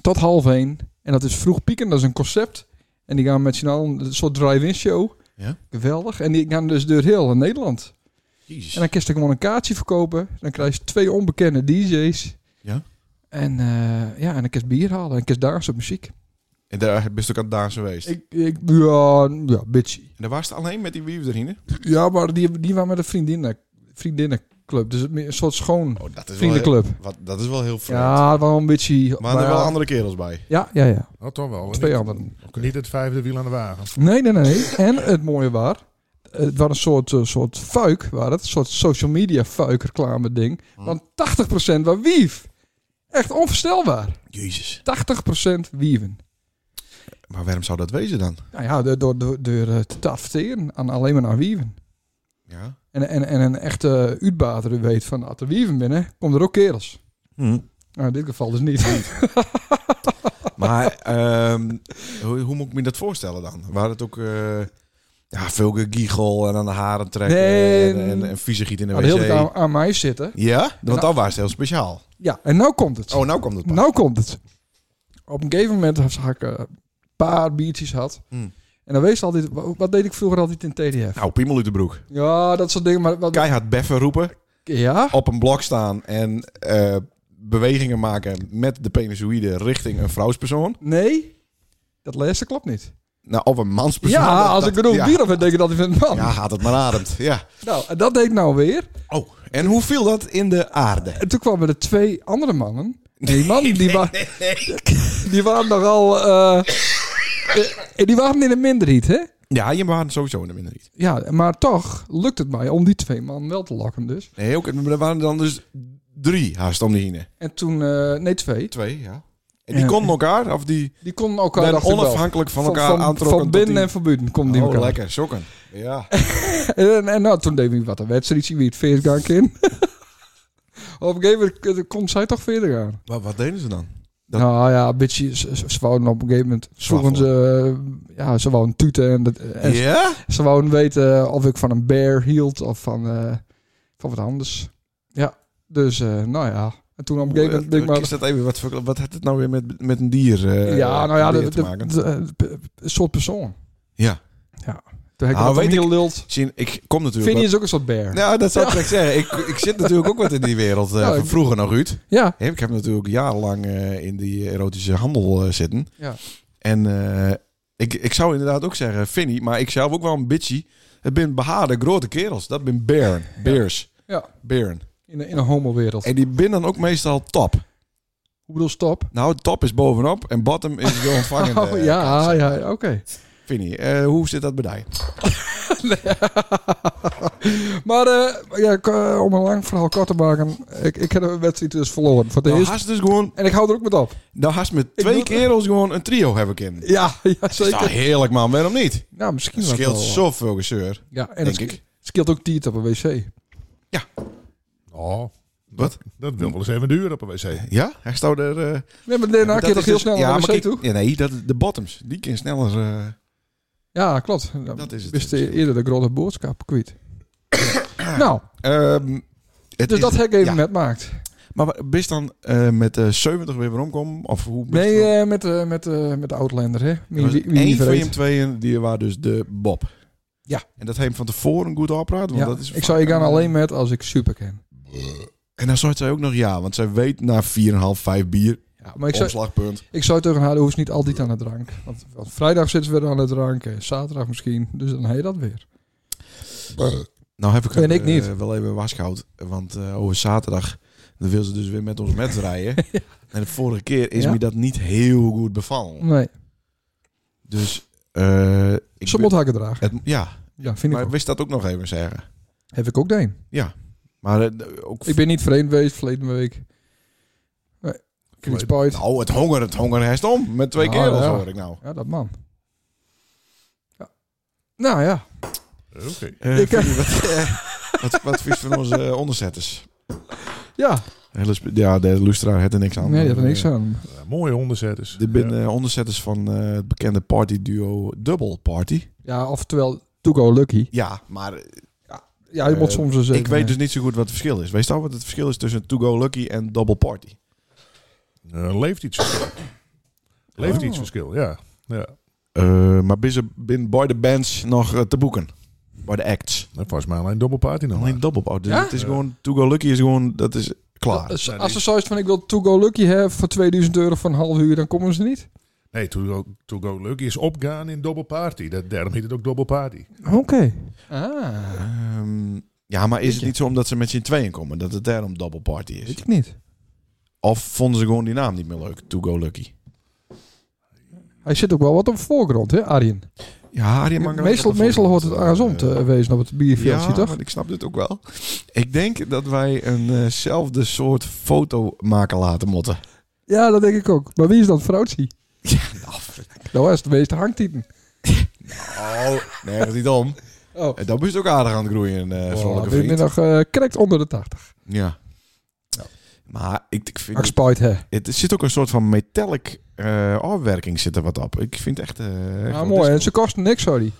tot half 1. En dat is vroeg pieken, dat is een concept. En die gaan met z'n allen een soort drive-in show.
Ja.
Geweldig. En die gaan dus door heel Nederland.
Jezus.
En dan kun je gewoon een kaartje verkopen. Dan krijg je twee onbekende DJ's.
Ja.
En, eh, ja, en dan kun je bier halen en kun je dansen op muziek.
En daar ben je ook aan het dansen geweest.
Ik, ik, ja, ja, bitchy.
En daar was het alleen met die wief erin. hè?
Ja, maar die, die waren met een vriendinnen, vriendinnenclub. Dus het meer een soort schoon
Oh, dat is wel
vriendenclub.
wat, dat is wel heel vreemd.
Ja, wel een beetje...
Maar er
ja.
wel andere kerels bij.
Ja, ja, ja.
Nou, toch wel.
Twee
Niet-
anderen.
Niet het vijfde wiel aan de wagen.
Nee, nee, nee. En het mooie waar. Het was een soort, eh, soort fuik, waar het, een soort social media fuik reclame ding.
Hm.
Want 80% was wief. Echt onvoorstelbaar.
Jezus.
80% wieven.
Maar waarom zou dat wezen dan?
Nou ja, door, door, door, door eh, te adverteren aan alleen maar naar wieven.
Ja.
En, en, en een echte uitbater die weet van, als er wieven binnen, komen er ook kerels. Nou, in dit geval dus niet.
Maar ehm, hoe, hoe moet ik me dat voorstellen dan? Waar het ook eh, ja, veel gegiegel en aan de haren trekken
Nee.
en, en, en vieze giet in de
Nou, de hele
wc.
tijd aan, aan mij zitten.
Ja? Want
Nou.
dan was het heel speciaal.
Ja, en nou komt het.
Oh, nou kwam het pas.
Nou komt het. Op een gegeven moment had ik eh, een paar biertjes had.
Hmm.
En dan wees altijd, wa- wat deed ik vroeger altijd in TDF?
Nou, piemel uit de broek.
Ja, dat soort dingen. Maar wat,
Keihard beffen roepen,
ja,
op een blok staan en eh, bewegingen maken met de penisoïde richting een vrouwspersoon.
nee, dat laatste klopt niet.
Nou, of een manspersoon.
ja,
Dat-
als
dat-
ik bedoel
ja.
bier op heb, denk ik dat ik vind man.
Ja, haat het maar ademt. Ja.
Nou, en dat deed ik nou weer.
Oh, en hoe viel dat in de aarde?
En toen kwamen er twee andere mannen. En die mannen, die, wa- die waren nogal... eh eh, die waren in een minderheid, hè?
Ja, je waren sowieso in de minderheid.
Ja, maar toch lukt het mij om die twee mannen wel te lokken dus.
Nee, ook, er waren dan dus drie haast om die heen.
En toen... eh, nee, twee.
Twee, ja. En die
Ja.
konden elkaar, of die
Die konden elkaar
werden
dacht ik wel.
onafhankelijk van elkaar
van,
aantrokken.
Van
tot
binnen
die-
en van buiten komt die
Oh,
elkaar.
lekker, sokken. Ja.
En, en nou, toen deed ik wat een wedstrijdje, wie het veergang in. Op een gegeven moment eh, kon zij toch verder gaan.
maar wat deden ze dan? Dat-
Nou ja, een beetje, ze, ze- ze wouden op een gegeven moment, vroegen ze, eh, ja, ze wouden tuten en, dat, en
ja?
ze wouden weten of ik van een bear hield of van, eh, van wat anders. Ja, dus eh, nou ja. En toen op een gegeven moment ben ik maar...
Is dat even, wat, voor- wat had het nou weer met, met een dier eh,
ja, nou ja,
dier
dat-
te
dat-
maken?
dat- eh, een soort persoon.
Ja.
Toen heb ik
Nou,
dat
weet
heel
ik-
lult.
Zien, ik kom natuurlijk...
Vinnie
wat-
is ook een soort bear.
Nou, dat zou ik direct zeggen. Ik, ik zit natuurlijk ook wat in die wereld. eh,
Ja,
van
ik-
vroeger nog, Ruud.
Ja,
Hè, Ik heb natuurlijk jarenlang eh, in die erotische handel eh, zitten.
Ja.
En eh, ik, ik zou inderdaad ook zeggen, Finny, maar ik zelf ook wel een bitchy. Het ben behaarde grote kerels. Dat ben beren. Bears.
Ja.
Beren.
in, een- in een homo-wereld.
En die ben dan ook meestal top.
Hoe bedoel stop?
Nou, top is bovenop en bottom is de ontvangende.
Oh, ja, ja, oké.
Finny, eh, hoe zit dat bij jou?
Maar eh, ja, ik, eh, om een lang verhaal kort te maken, ik, ik heb een wedstrijd dus verloren. Voor de
Nou,
eerste.
haast dus gewoon...
En ik hou er ook met op.
Nou, haast met twee
doe-
kerels gewoon een trio hebben kunnen.
Ja, ja
Dat is
zeker.
toch heerlijk, man. Waarom niet?
Nou, misschien
Het
wel.
scheelt
wel.
zoveel gezeur.
Ja, en
denk
het sch-
ik.
scheelt ook tiert op een wc.
Oh,
Wat?
dat wil wel eens even duren op een wc.
Ja? Hij staat er... eh,
Nee, maar daarna kun je toch heel snel naar de wc
kijk,
toe?
dus- Ja, nee, dat, de bottoms. Die kan sneller... eh,
Ja, klopt. Dan
Dat is het. dus.
Wist je eerder de grote boodschap kwijt. nou,
Ehm, het
dus
is-
dat heb ik even
ja.
net maakt.
Maar wa- bist dan eh, met eh 70 weer weer omkomen? Of hoe bist
Nee,
dan?
eh, met, eh, met, eh, met de Outlander, hè? Wie,
Er was
wie, wie
één
niet
van
weet.
je tweeën, die waren dus de Bob.
Ja.
En dat heeft hem van tevoren goed opraad. Want
Ja,
dat is eh,
ik zou je gaan alleen met als ik super ken.
En dan zei zij ook nog ja, want zij weet na 4,5, 5 bier,
Ja, maar ik zou,
omslagpunt.
ik zou tegen haar hoeft niet altijd aan de drank. Want, want vrijdag zitten we weer aan de drank, en zaterdag misschien. Dus dan heet dat weer.
Nou heb ik
Ben
het,
ik niet.
eh, wel even wasgoud. Want eh, over zaterdag dan wil ze dus weer met ons met rijden. En de vorige keer is
Ja.
me dat niet heel goed bevallen.
Nee,
Dus eh ik
ze moet hakken dragen.
het, ja,
Ja, vind
maar
ik
ik
ook.
wist dat ook nog even zeggen.
Heb ik ook de een.
Maar eh, ook
Ik ben niet vreemd geweest verleden week. Nee, ik heb
Verleden-
iets spijt.
nou, het honger, het honger herst om. Met twee
Ah,
kerels
ja.
hoor ik nou.
Ja, dat man. Ja. Nou ja,
Oké.
Eh,
Ik-
vind je wat, eh, wat, wat vies van onze eh, onderzetters?
ja.
Hele sp- Ja, de Lustra had er niks aan.
Nee, dat is niks
Eh,
aan.
Nou, mooie onderzetters.
Dit zijn
Ja.
eh, onderzetters van eh, het bekende partyduo Double Party.
Ja, oftewel, to go lucky.
Ja, maar
Ja, je
Eh,
moet soms eens
ik weet dus niet zo goed wat het verschil is. Weet je al wat het verschil is tussen To Go Lucky en Double Party?
Eh, leeft iets verschil. leeft
Oh.
iets verschil, ja. ja.
Eh, maar ben, ze, ben bij de bands nog eh, te boeken? Bij de acts?
Dat was maar alleen dubbelparty nog.
Alleen Double Party. Dus
Ja?
Het is gewoon, To Go Lucky is gewoon, dat is klaar.
Als,
Ja, die-
als ze zoiets van ik wil to go lucky hebben voor 2000 euro voor een half uur, dan komen ze niet.
Nee, To Go, to go Lucky is opgaan in dubbelparty. Dat, daarom heet het ook dubbelparty.
Oké. Ah,
Ehm, ja, maar is het niet zo omdat ze met z'n tweeën komen, dat het daarom Double Party
weet
is?
ik niet.
Of vonden ze gewoon die naam niet meer leuk, To Go Lucky?
Hij zit ook wel wat op de voorgrond, hè, Arjen?
Ja, die mag
Meestal, meestal hoort het andersom te wezen op het bierveldje,
eh, ja,
toch?
maar ik snap dit ook wel. Ik denk dat wij eenzelfde soort foto maken laten motten.
Ja, dat denk ik ook. Maar wie is dat vrouwtje? Nou, is het de meeste hangtieten.
Oh, nee, dat is niet om.
Oh,
En Dan moest ook aardig aan het groeien, eh
oh
vrolijke
dit
vriend.
middag eh krekt onder de 80.
Ja. Maar ik, ik vind...
Ik spijt, hè.
het, er zit ook een soort van metallic eh afwerking zit er wat op. Ik vind echt... eh echt
Nou,
wel
mooi. En
disco.
ze kosten niks, sorry.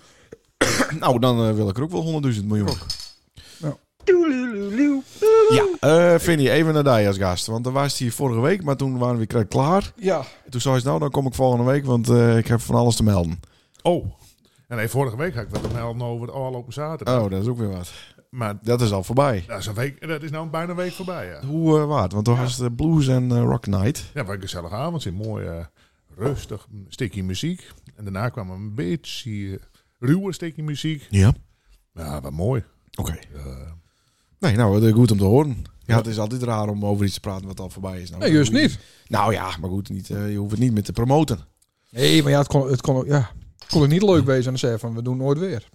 Nou, dan eh, wil ik er ook wel 100.000 miljoen.
Ja.
Ja, eh Vinnie, even naar daar als gast. Want dan was hij hier vorige week, maar toen waren we kra- klaar.
Ja.
Toen zei ze, nou, dan kom ik volgende week, want eh, ik heb van alles te melden.
Oh. En nee, vorige week had ik wat te melden over de afgelopen zaterdag.
Oh, dat is ook weer wat.
Maar
Dat is al voorbij.
dat is, een week, dat is nou bijna een week voorbij, ja.
Hoe eh waard? Want toen was het eh, Blues en eh, Rock Night.
Ja, wat een gezellige avond. Zit mooi eh, rustig, een stukje muziek. En daarna kwam een beetje eh, ruwe stukje muziek.
Ja.
Ja, wat mooi.
Oké. Nee, nou, dat is goed om te horen. Ja, het is altijd raar om over iets te praten wat al voorbij is. Nou,
Nee, juist
dat
niet.
Nou ja, maar goed, niet, eh, je hoeft het niet meer te promoten.
Nee, maar ja, het kon, het kon, ook- ja, het kon ook niet leuk wezen en zeggen van, we doen nooit weer.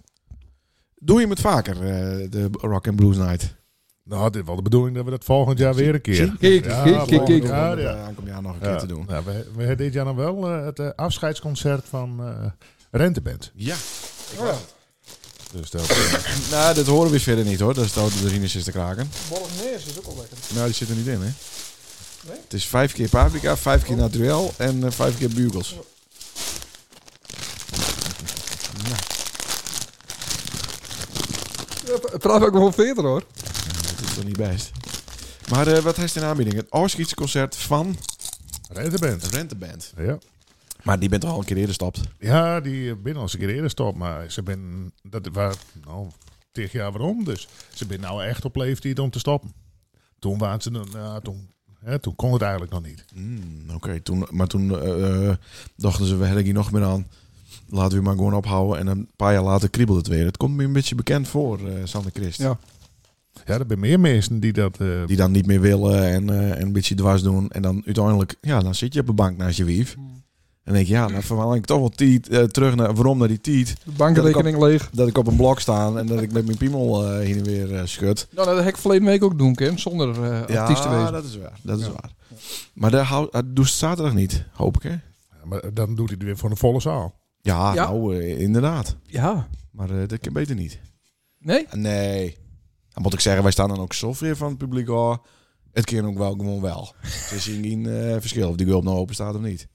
Doe je het vaker, eh, de Rock and Blues Night?
Nou, dit is wel de bedoeling dat we dat volgend jaar weer een keer.
Kijk, kijk,
Ja,
kijk, kijk.
volgende keer.
Ja,
Ja,
ja.
ja.
Aankomend jaar nog een keer
Ja.
te doen.
Nou, we, we hebben dit jaar dan wel eh, het eh, afscheidsconcert van eh, Renteband.
Ja.
Dus dat, eh,
Nou, dat horen we verder niet hoor. Dat is de auto de Rinus is te kraken.
Bolognese is ook al lekker.
Nou, die zit er niet in, hè? Het is vijf keer paprika, vijf keer naturel en eh, vijf keer bugels.
Oh. Praat ook gewoon verder hoor.
Dat is toch niet best. Maar eh, wat heeft in aanbieding? Het Auschwitz concert van
Renteband.
Renteband.
Ja.
Maar die bent toch al een keer eerder stapt.
ja, die eh, binnen als een keer eerder stop, maar ze ben dat waar, nou, tig jaar waarom. Dus ze ben nou echt op leeftijd om te stoppen. Toen waren ze, dan, ja, toen, hè, toen kon het eigenlijk nog niet.
Hmm, Oké, toen, maar toen eh, eh, dachten ze, we hebben hier nog meer aan. Laten we maar gewoon ophouden. En een paar jaar later kriebelt het weer. Het komt me een beetje bekend voor, eh Sander Christ.
Ja.
Ja, er zijn meer mensen die dat. eh,
Die dan niet meer willen en, eh, en een beetje dwars doen. En dan uiteindelijk, ja, dan zit je op de bank naast je wief.
Hmm.
En denk je, ja, dan verwaal ik toch wel tiet, eh, terug naar, waarom naar die tiet.
De bankrekening leeg.
Dat ik op een blok sta en dat ik met mijn piemel eh, heen en weer eh, schud.
Nou, dat heb ik verleden week ook doen, Kim. Zonder eh artiest te wezen.
dat is waar. Dat is
Ja.
waar. Maar dat, hou, dat doet ze zaterdag niet, hoop ik, hè?
maar dan doet hij het weer voor een volle zaal.
Ja,
Ja.
nou, eh, inderdaad.
Ja.
Maar eh, dat kan beter niet.
Nee?
Nee. Dan moet ik zeggen, wij staan dan ook zo ver van het publiek af. Het kan ook wel gewoon wel. Ze zien geen eh, verschil of die gulp nou open staat of niet.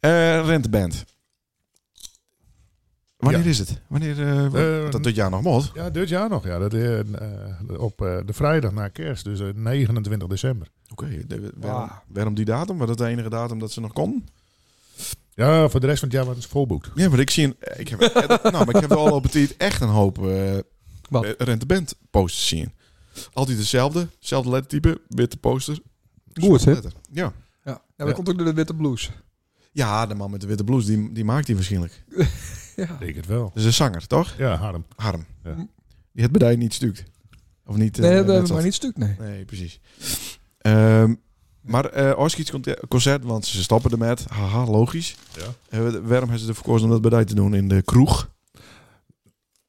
Eh renteband. Wanneer
Ja.
is het? Wanneer, eh,
Eh,
dat dit jaar nog moet?
Ja, dit jaar nog. Ja, dat, eh, eh, op eh, de vrijdag na kerst, dus eh, 29 december.
Oké, de- waarom, waarom die datum? Was dat de enige datum dat ze nog kon?
Ja, voor de rest van het jaar waren ze volboekt.
Ja, maar ik zie een, ik heb, eh, dat- nou, maar ik heb wel op het tijd echt een hoop eh
Wat?
renteband posters zien. Altijd dezelfde, zelfde lettertype, witte poster.
Goed, hè?
Letter. Ja.
Ja, ja dat
Ja.
komt ook door de witte blues.
ja, de man met de witte blouse, die, die maakt die waarschijnlijk.
Ja.
Ik denk het wel.
Dat is een zanger, toch?
Ja, Harm.
Harm.
Ja.
Die het bedrijf niet stukt. Of niet... eh,
Nee,
net
dat hebben we
zat.
maar niet stuk, nee.
Nee, precies. Ehm, maar eh als je iets conte- concert, want ze stoppen er met, haha, logisch.
Ja.
Eh, waarom hebben ze ervoor gekozen om dat bedrijf te doen in de kroeg?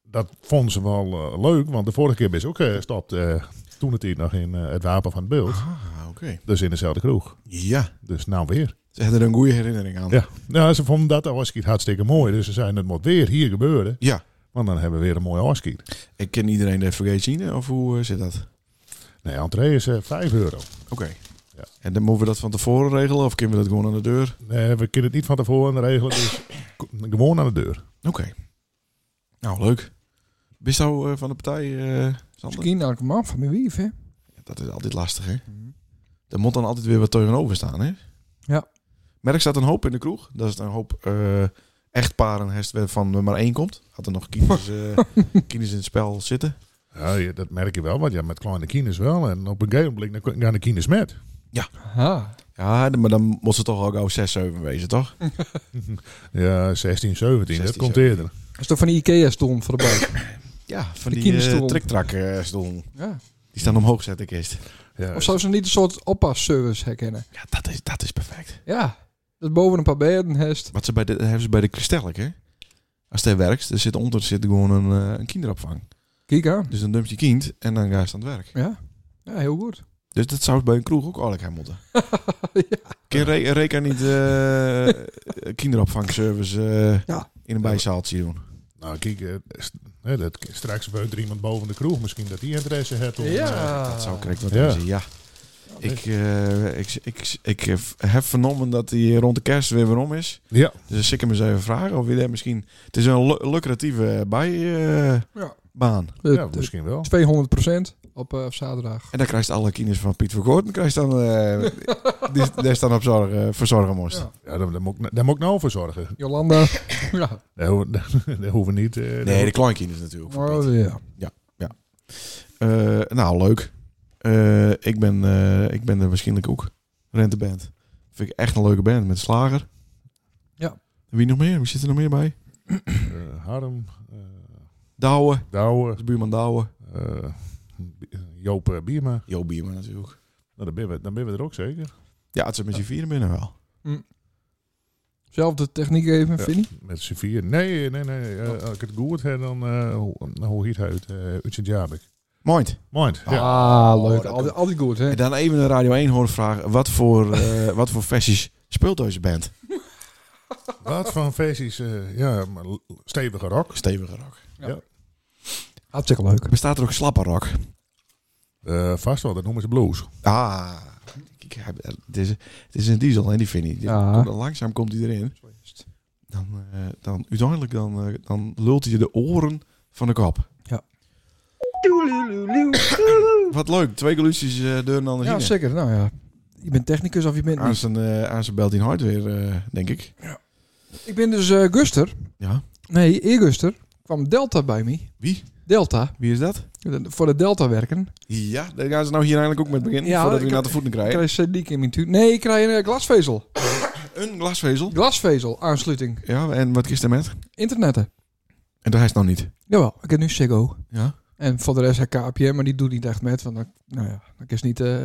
Dat vonden ze wel eh, leuk, want de vorige keer ben ze ook eh, gestapt. eh, toen het hier nog in eh, het Wapen van het Beeld.
Ah, oké.
Dus in dezelfde kroeg.
Ja,
Dus nou weer.
ze hebben er een goede herinnering aan.
Ja. Nou, ze vonden dat Oskiet hartstikke mooi. Dus ze zeiden, het moet weer hier gebeuren.
Ja.
Want dan hebben we weer een mooie Oskiet.
Ik ken iedereen de FVG zien, of hoe eh, zit dat?
Nee, entree is eh, 5 euro.
Oké.
Ja.
En dan moeten we dat van tevoren regelen, of kunnen we dat gewoon aan de deur?
Nee, we kunnen het niet van tevoren regelen, dus k- gewoon aan de deur.
Oké. Nou, leuk. Bist jou eh, van de partij, eh, Sander?
Misschien elke man van mijn wief, hè?
Ja, dat is altijd lastig, hè? Er moet dan altijd weer wat tegenover staan, hè?
Ja.
Merk staat een hoop in de kroeg. Dat is een hoop eh, echtparen herst waarvan er maar één komt. Had er nog kinders, eh, kinders in het spel zitten.
Ja, je- dat merk je wel, want ja, met kleine kines wel. En op een gegeven moment dan gaan de kines met.
Aha.
Ja, maar dan moet ze toch al gauw 6, 7 wezen, toch?
Ja, 16, 17,
16,
dat komt eerder.
Dat is toch van die Ikea-stoel voor de buik?
Ja, van
Die
die, eh
kinderstoel.
triktrak eh, stoel.
ja.
Die staan omhoog zetten, kist.
Ja,
Of zou ze niet een soort oppasservice herkennen?
Ja, dat is, dat is perfect.
Ja. Dat boven een paar bedden hest.
Wat ze bij de, dat hebben ze bij de Kristellik, hè? Als hij werkt, er zit onder zit gewoon een, eh, een kinderopvang.
Kijk aan.
Dus dan dumpt je kind en dan ga je aan het werk.
Ja. Ja, heel goed.
Dus dat zou bij een kroeg ook eigenlijk aan moeten. Kan Re- Reka niet eh kinderopvangservice eh,
Ja.
in een bijzaaltje doen?
Nou, kijk, eh, st- hè, dat, straks beukt er iemand boven de kroeg. Misschien dat die interesse heeft. om, eh,
Dat zou correct wat
Ja.
ja. ja. Ik, eh, ik, ik, ik heb vernomen dat hij rond de kerst weer weer om is.
ja,
Dus ik hem eens even vragen of hij daar misschien... Het is een lu- lucratieve bijbaan.
Ja.
baan.
De-
ja,
de-
misschien wel.
200% op eh, zaterdag.
en dan krijgt alle kinders van Piet Vergoorten... Krijgt dan, eh die, daar staan op zorg, eh, verzorgen moest.
Ja.
Ja, daar, daar moet ik, daar moet ik nou voor zorgen.
Jolanda. ja.
Daar hoeven, daar hoeven we niet... eh, daar
Nee, de
hoeven-
kleinkinders natuurlijk. van Piet.
Oh, ja.
Eh, nou, leuk. Eh, ik, ben, eh, ik ben er waarschijnlijk ook. Renteband. Vind ik echt een leuke band met Slager.
Ja.
Wie nog meer? Wie zit er nog meer bij?
eh, Harm, eh
Douwe.
Douwe,
Dat is buurman Douwe.
eh, Bi- Joop eh, Bierma.
Jo Bierman natuurlijk.
Nou, dan ben, we, dan ben we er ook zeker.
Ja, het zit met je vieren binnen wel.
Zelfde techniek even,
Ja.
vind je?
Met z'n vier. Nee, nee, nee. eh, als ik het goed heb, dan eh, hoe- nou, hoe heet hij het? eh Utsint Jabik.
Mooi.
Mind. Ja.
Ah,
Oh,
leuk.
dat
Altijd, altijd goed, hè?
En dan even een Radio 1 horen vragen. Wat voor, eh, wat voor versies speelt deze band?
Wat van feestjes. eh, ja, maar l- stevige rock.
Stevige rock.
Hartstikke leuk.
Bestaat er ook slappe rock?
Eh, vast wel, dat noemen ze blues.
Ah. Kijk, hij- het, is, het is een diesel en die vind ik.
Ja.
Komt- Langzaam komt hij erin. dan, eh, dan uiteindelijk dan, eh, dan lult hij de oren van de kop.
Ja.
Wat leuk, twee geluidjes eh deur en dan
Ja,
zien.
zeker. Nou ja. Je bent technicus of je bent
Aan
niet.
zijn, eh, aan zijn belt in hard weer, eh, denk ik.
Ik ben dus eh, Guster.
Ja.
Nee, eerguster. Kwam Delta bij me.
Wie?
Delta.
Wie is dat?
Voor de Delta werken.
Ja, daar gaan ze nou hier eigenlijk ook met beginnen,
Ja,
voordat
ik
we naar
heb-
de voeten
Ik
krijgen.
krijg sadiek in mijn tuin. Nee, ik krijg een eh, glasvezel.
Een glasvezel.
Glasvezel aansluiting.
Ja, en wat kist er met?
Internetten.
En daar is het nou niet.
Jawel, ik heb nu Ziggo.
Ja.
En voor de rest heb ik KPM, maar die doet niet echt met. Want dan, nou ja, dan is niet, eh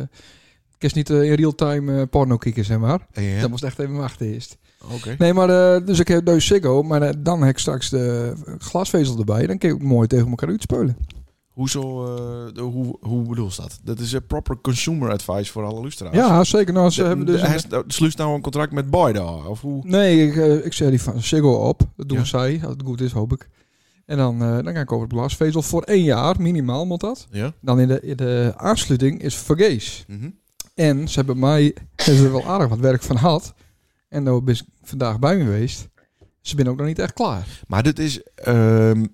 ik is niet eh, in real-time eh, porno kijken, zeg maar.
Ja, ja.
Dan moest echt even wachten eerst.
Oké.
Nee, maar eh, dus ik heb nu Ziggo, maar eh, dan heb ik straks de glasvezel erbij. Dan kun je ook mooi tegen elkaar uitspelen.
Hoezo, eh, de- hoe, hoe bedoel je dat? Dat is een proper consumer advice voor alle luisteraars.
Ja, zeker. Nou, ze
De-
hebben
de-
dus...
hij is- nou, Sluit nou een contract met Boy daar, of hoe?
Nee, ik, eh, ik zet die van Ziggo op. Dat doen
Ja.
zij, als het goed is, hoop ik. En dan, eh, dan ga ik over het glasvezel. Voor één jaar, minimaal moet dat.
Ja.
Dan in de, in de aansluiting is vergees.
Mhm.
En ze nou hebben mij hebben ze er wel aardig wat werk van gehad. En daar ben ik vandaag bij me geweest. Ze zijn ook nog niet echt klaar.
Maar dit is... ehm,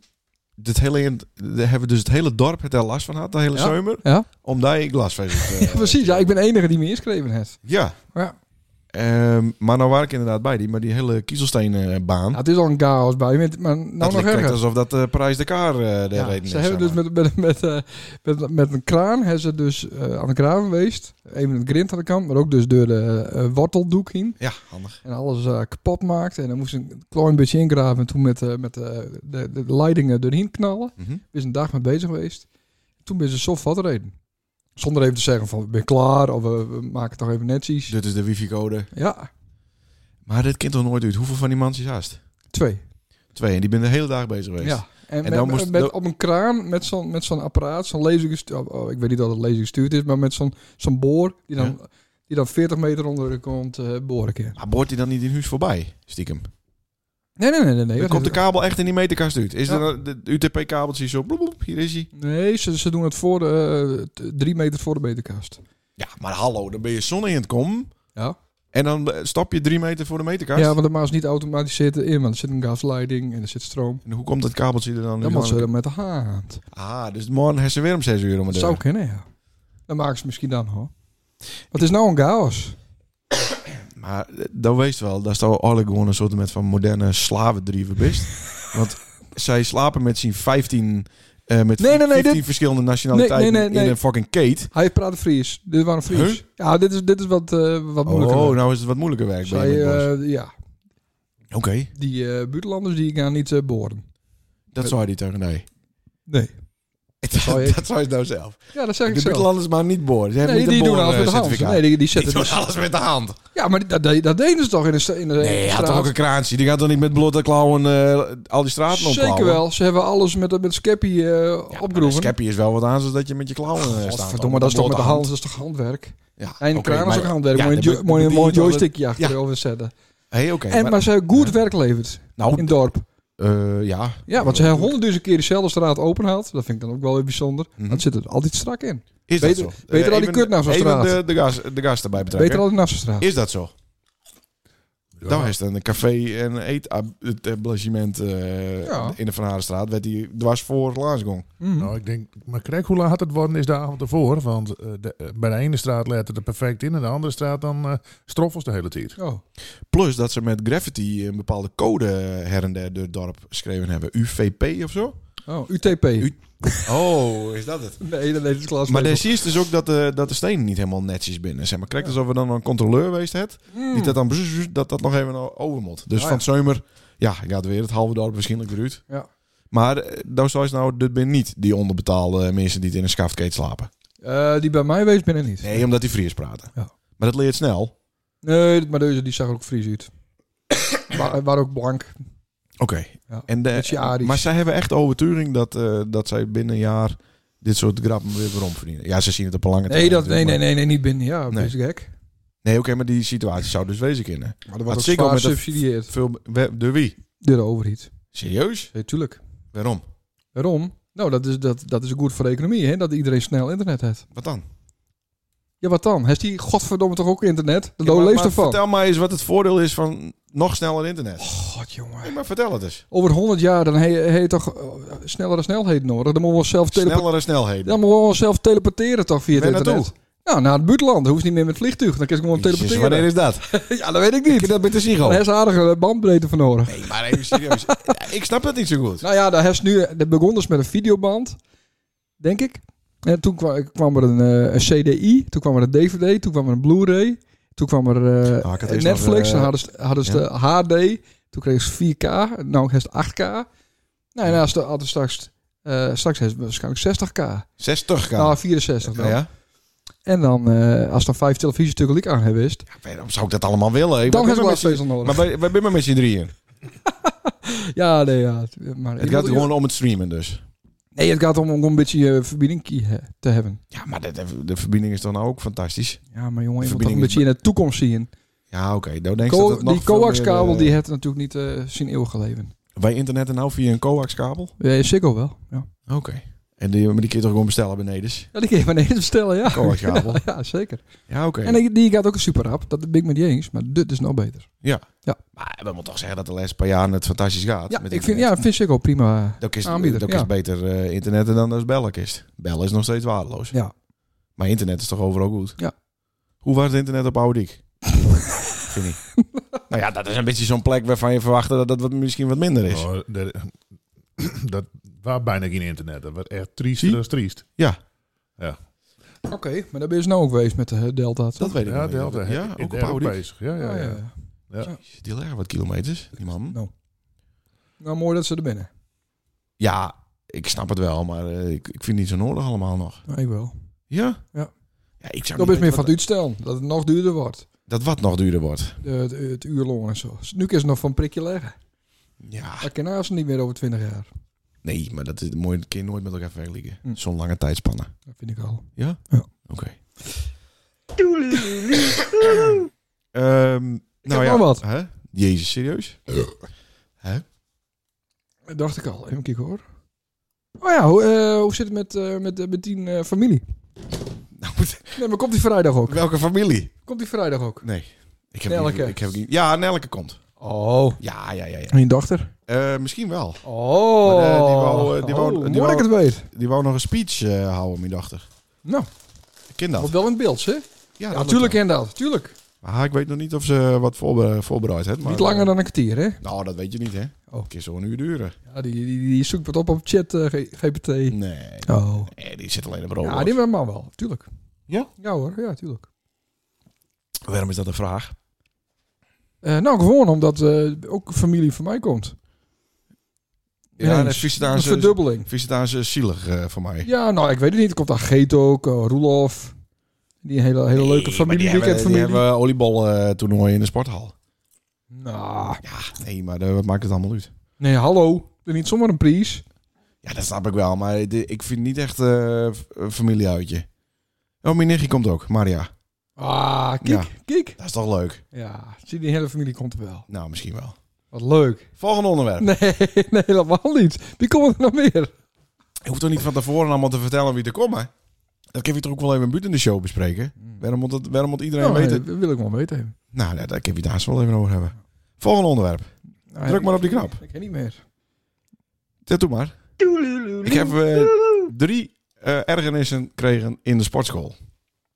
dit hele, eind- daar hebben dus het hele dorp het er last van had, de hele
Ja.
zomer.
Ja.
Omdat je glasvezel... eh,
Precies, ja, ik ben de enige die me ingeschreven heeft.
Ja.
Ja.
Ehm, maar nou waar ik inderdaad bij die, maar die hele kiezelsteenbaan.
Nou, het is al een chaos bij, met- maar nou
Hm. dat
nog
lijkt
erger.
alsof dat de prijs de kaar eh daar
Ja,
reden is.
ze hebben dus
zeg maar.
met, met, met, eh, met, met een kraan hebben ze dus eh, aan de kraan geweest. Even het grind aan de kant, maar ook dus door de eh, worteldoek heen.
Ja, handig.
En alles eh, kapot maakt. En dan moest ze een klein beetje ingraven. En toen met, eh, met eh, de, de leidingen erheen knallen.
Mhm.
is een dag mee bezig geweest. Toen ben ze soft wat reden. Zonder even te zeggen van, ik ben klaar. Of eh, we maken het toch even netjes.
Dit is de wifi-code.
Ja,
Maar dit kind toch nooit uit. Hoeveel van die mansjes haast?
twee.
Twee. En die ben de hele dag bezig geweest.
Ja. En,
En dan
met,
moest-
met-
dan-
op een kraan met zo'n met zo'n apparaat, zo'n laser gestuurd. ik weet niet dat het laser gestuurd is, maar met zo'n zo'n boor die dan, die dan 40 meter onder de grond eh, boren kan.
Maar boort hij dan niet in huis voorbij? Stiekem.
Nee, nee, nee, nee. nee
Dan
dat
komt de
is-
kabel echt in die meterkast uit. Is
Ja.
er de UTP-kabeltje zo... Bloep, bloep, hier is hij.
Nee, ze, ze doen het voor de, eh, t- drie meter voor de meterkast.
Ja, maar hallo. Dan ben je zonne in het kom.
Ja.
En dan eh, stap je drie meter voor de meterkast.
Ja, want dat maakt ze niet automatiseerd in, want er zit een gasleiding en er zit stroom.
En hoe komt dat kabeltje er dan
Dan moet ze
uit?
dat met de hand.
Ah, dus morgen hebben ze weer om zes uur om
Dat
de
zou kunnen, ja. Dan maken ze misschien dan, hoor. Wat is nou een chaos?
Maar eh, dan wees wel, dat is toch eigenlijk gewoon een soort met van moderne slavendrieven best. Want zij slapen met z'n 15, eh met
Nee, nee, nee,
15
dit-
verschillende nationaliteiten
Nee, nee, nee, nee.
in een fucking kate.
Hij praat Fries. Dit waren Fries.
Huh?
Ja, dit is, dit is wat, eh wat moeilijker.
Oh, nou is het wat moeilijker werk. bij
Zij,
Met Bos.
eh, ja,
Oké,
die eh, buitenlanders die gaan niet eh, boren.
dat zou hij tegen mij.
Nee. zou je-
dat zou je nou zelf.
Ja, dat zeg
De
ik zelf.
buitenlanders maar niet boren. Ze hebben
Nee,
niet
die
een
doen
boren,
alles met de
eh,
hand.
certificaat.
Nee, die, die
Die
zetten
doen
dus-
alles met de hand.
Ja, maar die- dat, dat, dat deden ze toch in de, sta- in de, in
Nee,
de
je had toch
straat?
ook een kraantje. Die gaat dan niet met blote klauwen eh, al die straten opklauwen.
Zeker wel. Ze hebben alles met, met Skeppie eh
Ja, maar een
opgeroepen.
Skeppie is wel wat aan, zodat je met je klauwen eh, staat.
Godverdomme, dat is toch met de hand, dat is toch handwerk?
Ja,
En
oké,
kraan is
maar-
ook handwerk.
Ja,
moet
dan
je
be-
een mooi-
bedien
mooi
je toch het-
joystickje achterover zetten.
Hé, oké.
En
maar-
maar ze hebben goed
Ja.
werk levert
nou,
in het dorp.
eh, ja.
Ja, want ze hebben honderdduizend keer dezelfde straat open haalt. Dat vind ik dan ook wel weer bijzonder.
Mhm.
Dat zit er altijd strak in.
Is
Beter-
dat zo?
beter
Eh,
al die
even-
kut naar zo'n
even
straat.
De, de, gas, de gas erbij betrekken.
Beter dan de Nassaustraat.
Is dat zo? Dan is het een café en eetablissement eh
Ja.
in de Van Harenstraat. Werd hij dwars voor Laarsgong.
Mhm.
Nou, ik denk, maar kijk hoe laat het worden is de avond ervoor. Want eh, de- eh, bij de ene straat let het er perfect in. En de andere straat dan eh stroffels de hele tijd.
Oh.
Plus dat ze met graffiti een bepaalde code her en der door het dorp geschreven hebben. UVP of zo?
Oh, UTP.
U- Oh, is dat het?
nee, dat is klas.
Maar daar zie je dus ook dat de, dat de stenen niet helemaal netjes binnen. Zeg maar, krijgt alsof we dan een controleur geweest had. Die dat dan bzz, bzz, dat dat nog even over moet. Dus
Ah,
van
ja.
Zeumer, ja, gaat weer het halve dorp waarschijnlijk weer uit.
Ja.
Maar eh, dan zou je nou, dit ben niet die onderbetaalde mensen die het in een schaftkeet slapen.
Eh, die bij mij wees ben ik niet.
Nee, omdat die Fries praten.
Ja.
Maar dat leert snel. Oké,
Nee, maar deze die zag er ook Fries uit. Waar, waar ook blank. Ja,
en de-
met je Arisch.
maar zij hebben echt de overtuiging dat, eh, dat zij binnen een jaar dit soort grappen weer weer omverdienen. Ja, ze zien het op een lange
Nee,
termijn
dat, nee,
natuurlijk,
nee,
maar-
nee, nee, niet binnen. Ja,
Nee.
dat is gek.
Nee, oké, maar die situatie zou dus wezen kunnen.
Maar dat
Had
wordt ook
Ziggo
zwaar
met dat-
gesubsidieerd.
Veel, we- de wie?
Door de overheid.
Serieus?
Ja, tuurlijk.
Waarom?
Waarom? Nou, dat is, dat, dat is goed voor de economie, hè? Dat iedereen snel internet heeft.
Wat dan?
Ja, wat dan? Heeft die godverdomme toch ook internet? De
Ja, maar-
leeft
maar
ervan. Oh.
Vertel mij eens wat het voordeel is van nog sneller internet.
God, jongen.
Nee, maar vertel het eens.
Over 100 jaar, dan he- heet toch eh, snellere snelheid nodig. Dan moeten we onszelf, telepo-
Snellere snelheden.
dan moeten we onszelf teleporteren toch via het
Waar
internet.
naartoe?
Nou, naar het buitenland. Dan hoeft niet meer met vliegtuig. Dan kun je gewoon
Jezus,
teleporteren.
wanneer is dat?
Ja, dat weet ik niet.
dat met de
Daar
Ziggo.
is aardige bandbreedte voor nodig.
nou? Nee, maar even serieus. ik snap dat niet zo goed.
Nou ja, daar heeft nu, dat begon dus met een videoband, denk ik. En toen kwam, kwam er een, eh, een CDI, toen kwam er een DVD, toen kwam er een Blu-ray, toen kwam er eh,
Ah, ik had eerst nog,
Netflix,
eh,
dan hadden ze, hadden ze
ja.
de HD, toen kreeg ze 4K, nou heeft ze 8K. Nou, en als de, hadden straks, eh, straks heeft ze waarschijnlijk 60K.
60 k
Nou, 64 dan.
ja. ja.
En dan, eh, als dan vijf televisies tegelijk aan hebben is,
Waarom zou ik dat allemaal willen? Ik
dan
ben
heeft ze
met z'n-
glasvezel nodig.
Maar wij, wij zijn maar met z'n drieën.
ja, nee, ja. het- Maar
Het gaat gewoon om het streamen dus.
Nee, het gaat om, om een beetje eh verbinding eh, te hebben.
Ja, maar de, de verbinding is dan ook fantastisch.
Ja, maar jongen, je moet toch
Verbinding
een
is
beetje in de toekomst zien.
Ja, oké. Nou denk ik
Co-
dat het nog
die
veel meer,
coaxkabel
eh,
die heeft natuurlijk niet eh, zijn eeuwig leven.
Wij internetten nou via een coaxkabel?
Ja, Ziggo wel. Ja.
Oké. En die, maar die kun je toch gewoon bestellen beneden?
Ja, die kun je maar ineens bestellen, ja.
Koorkabel.
Ja, zeker.
Ja, oké.
En die, die gaat ook super rap. Dat ben ik met je eens. Maar dit is nog beter.
Ja.
Ja.
Maar we moeten toch zeggen dat de les per jaar het fantastisch gaat.
Ja,
met
ik vind,
internet.
ja, vind ik ook prima.
Dat is,
aanbieder,
dat
ja.
is beter eh, internet dan als bellen is. Bellen is nog steeds waardeloos.
Ja.
Maar internet is toch overal goed?
Ja.
Hoe was het internet op Oude Diek? vind ik. Nou ja, dat is een beetje zo'n plek waarvan je verwachtte dat dat wat, misschien wat minder is.
Oh, dat, dat was bijna geen internet. Dat was echt triest.
Zie?
Dat is triest.
Oké, maar daar ben je nou ook geweest met de eh, Delta. toch?
Dat weet ik
Ja,
nog niet.
Delta.
Ja, ook op
in
Oh,
Delft
Oude Diek.
bezig. Ja, ja,
Ah,
ja.
Die leggen wat kilometers, die man.
Nou, mooi dat ze er binnen.
Ja, ik snap het wel, maar eh, ik, ik vind het niet zo nodig allemaal nog.
Nou, ik wel.
Ja?
Ja.
ja ik
Dat is
zou niet
meer
weten
van
wat-
het uitstel. Dat het nog duurder wordt.
Dat wat nog duurder wordt.
De, het- het uurloon en zo. Nu kun je ze nog van prikje leggen.
Ja.
Dat kan haast niet meer over 20 jaar.
Nee, maar dat is mooi. Dat kun je nooit met elkaar vergelijken.
Hm.
Zo'n lange tijdspanne.
Dat vind ik al.
Ja?
Ja.
Oké. Ehm, nou
heb
ja.
nog wat.
Hè? Jezus, serieus?
Dat dacht ik al. Even kijken hoor. Oh ja, hoe, eh, hoe zit het met, eh, met, eh, met die eh, familie?
Nou,
Nee, maar komt die vrijdag ook?
welke familie?
Komt die vrijdag ook?
Nee. Ik heb
Nelke.
Niet, ik heb niet, ja, Nelke komt.
Oh.
Ja, ja, ja. ja.
En je dochter?
Eh, misschien wel.
Oh.
Maar, eh, die wou, eh, die wou-
Oh,
die
mooi dat ik
wou-
het weet.
Die wou nog een speech eh, houden, mijn dochter.
Nou,
Ik ken dat.
wordt wel in beeld, hè?
Ja,
Ja,
dat
natuurlijk
lukt
en dat. Tuurlijk.
wel. Maar ik weet nog niet of ze wat voorbe- voorbereid heeft. Maar, eh,
Niet langer dan een kwartier, hè?
Nou, dat weet je niet, hè.
Oh.
Het kan zo'n uur duren.
Ja, die, die, die zoekt wat op op chat eh, G- GPT.
Nee.
Oh.
nee, die zit alleen op
Ja,
robot.
die hebben man wel. Tuurlijk.
Ja?
Ja hoor, ja, tuurlijk.
Waarom is dat een vraag?
Eh, nou, gewoon omdat eh, ook familie van mij komt.
Ja,
Ineens.
en vies daar
Een
zo-
verdubbeling.
Vind je het daar zo zielig eh, voor mij?
Ja, nou, ik weet het niet. Er komt daar Geet ook, eh, Roelof. Die hele, hele leuke
Nee, maar
familie,
die hebben, die
weekendfamilie.
hebben oliebal eh, toernooi in de sporthal.
Nou,
Ja, nee, maar eh, wat maakt het allemaal uit?
nee, hallo. Er niet zomaar een prijs.
Ja, dat snap ik wel, maar di- ik vind het niet echt eh, f- een familieuitje. Oh, mijn nichtje komt ook, Maria.
Ah, kijk, kijk.
Dat is toch leuk?
Ja, zie, die hele familie komt er wel.
Nou, misschien wel.
Wat leuk.
Volgende onderwerp.
Nee, nee, helemaal niet. Wie komt er nog meer?
Je hoeft toch niet van tevoren allemaal te vertellen wie er komt, hè? Dat kun je toch ook wel even buiten in de show bespreken? Waarom moet, dat, waarom moet iedereen
Nou,
weten?
eh, wil ik wel weten.
Nou, daar, daar kun je het daar zo wel even over hebben. Volgende onderwerp.
Nou,
Druk
ik-
maar op die knop.
Ik ken niet meer.
Ja, Doe maar. Ik heb eh, drie eh, ergernissen gekregen in de sportschool.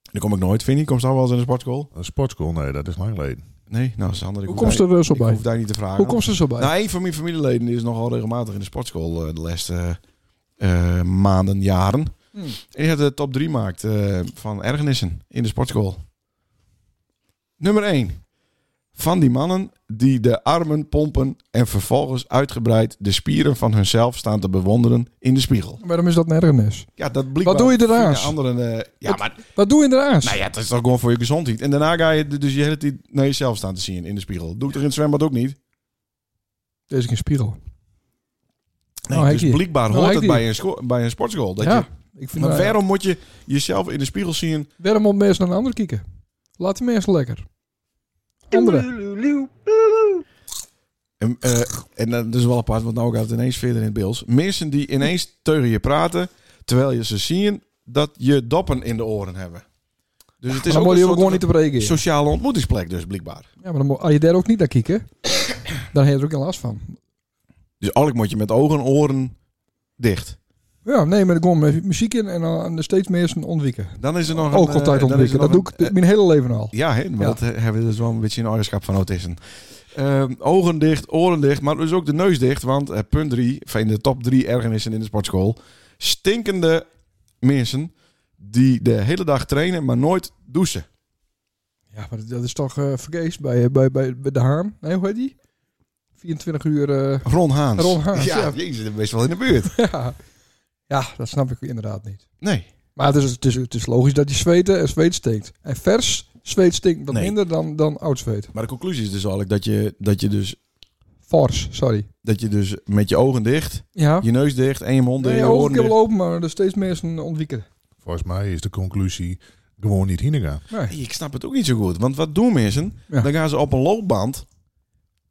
Daar kom ik nooit, Vinnie. Kom je nou wel eens in de sportschool?
Een sportschool, nee, dat is lang geleden.
Nee, nou, Sander, ik
Hoe
hoef
komt ze
daar-
er eh, zo
ik
bij?
hoef daar niet te vragen.
Hoe komt ze er zo bij?
Nou, een van mijn familieleden die is nogal regelmatig in de sportschool eh, de laatste eh, maanden, jaren.
Hmm.
En die had de top drie maakt eh, van ergernissen in de sportschool. Nummer 1. Van die mannen die de armen pompen en vervolgens uitgebreid de spieren van hunzelf staan te bewonderen in de spiegel.
Waarom is dat een ergernis?
Ja, dat blijkbaar
doe je eraan?
vinden Anderen, eh, ja,
Wat-
maar
Wat doe je eraan?
nou ja, dat is toch gewoon voor je gezondheid. En daarna ga je dus je hele tijd naar jezelf staan te zien in de spiegel. Doe ik er in het zwembad ook niet.
Deze geen spiegel.
Nee,
Oh, hek
dus
die.
blijkbaar
Oh,
hoort
hek
het
die.
bij een, scho- bij een sportschool. Dat
ja,
je,
ik vind
maar
maar
waarom moet je jezelf in de spiegel zien?
waarom moet mensen naar een ander kijken? Laat de mensen lekker. Anderen.
En, eh, en dat is wel apart, want nou gaat het ineens verder in het beeld. Mensen die ineens tegen je praten, terwijl je ze zien dat je doppen in de oren hebben. Dus het
Maar
is
dan
ook
moet
een
je ook
soort
gewoon niet te breken. Ja,
sociale ontmoetingsplek dus, blijkbaar.
maar dan moet, als je daar ook niet naar kijken, dan heb je er ook geen last van.
Dus eigenlijk moet je met ogen en oren dicht.
Ja, nee, maar gewoon met muziek in en dan steeds mensen ontwikken.
Dan is er nog
Ook
een,
altijd
eh, dan is
ontwikken.
er
Dat
nog
doe
een-
ik dit- mijn hele leven al.
Ja, hè, maar
Ja.
dat eh, hebben we dus wel een beetje een eigenschap van autisten. Ehm, ogen dicht, oren dicht, maar dus ook de neus dicht. Want eh, punt drie, van in de top drie ergernissen in de sportschool. Stinkende mensen die de hele dag trainen, maar nooit douchen.
Ja, maar dat is toch eh vergeest bij, bij, bij, bij de Haan? Nee, hoe heet die? 24 uur... eh,
Ron Haans.
Ron Haans,
Ja,
ja.
jezus, dat is wel in de buurt.
ja. ja, dat snap ik inderdaad niet.
Nee.
Maar het is, het, is, het is logisch dat je zweten en zweet stinkt. En vers zweet stinkt wat
Nee.
minder dan, dan oud zweet.
Maar de conclusie is dus eigenlijk dat je, dat je, dus,
Fors, sorry.
dat je dus met je ogen dicht,
Ja,
je neus dicht en je mond
nee,
en
je
je
ogen
oren
kunnen
dicht.
lopen, maar er steeds mensen ontwikkelen.
Volgens mij is de conclusie gewoon niet heen gaan.
Nee.
Ik snap het ook niet zo goed. Want wat doen mensen?
Ja.
Dan gaan ze op een loopband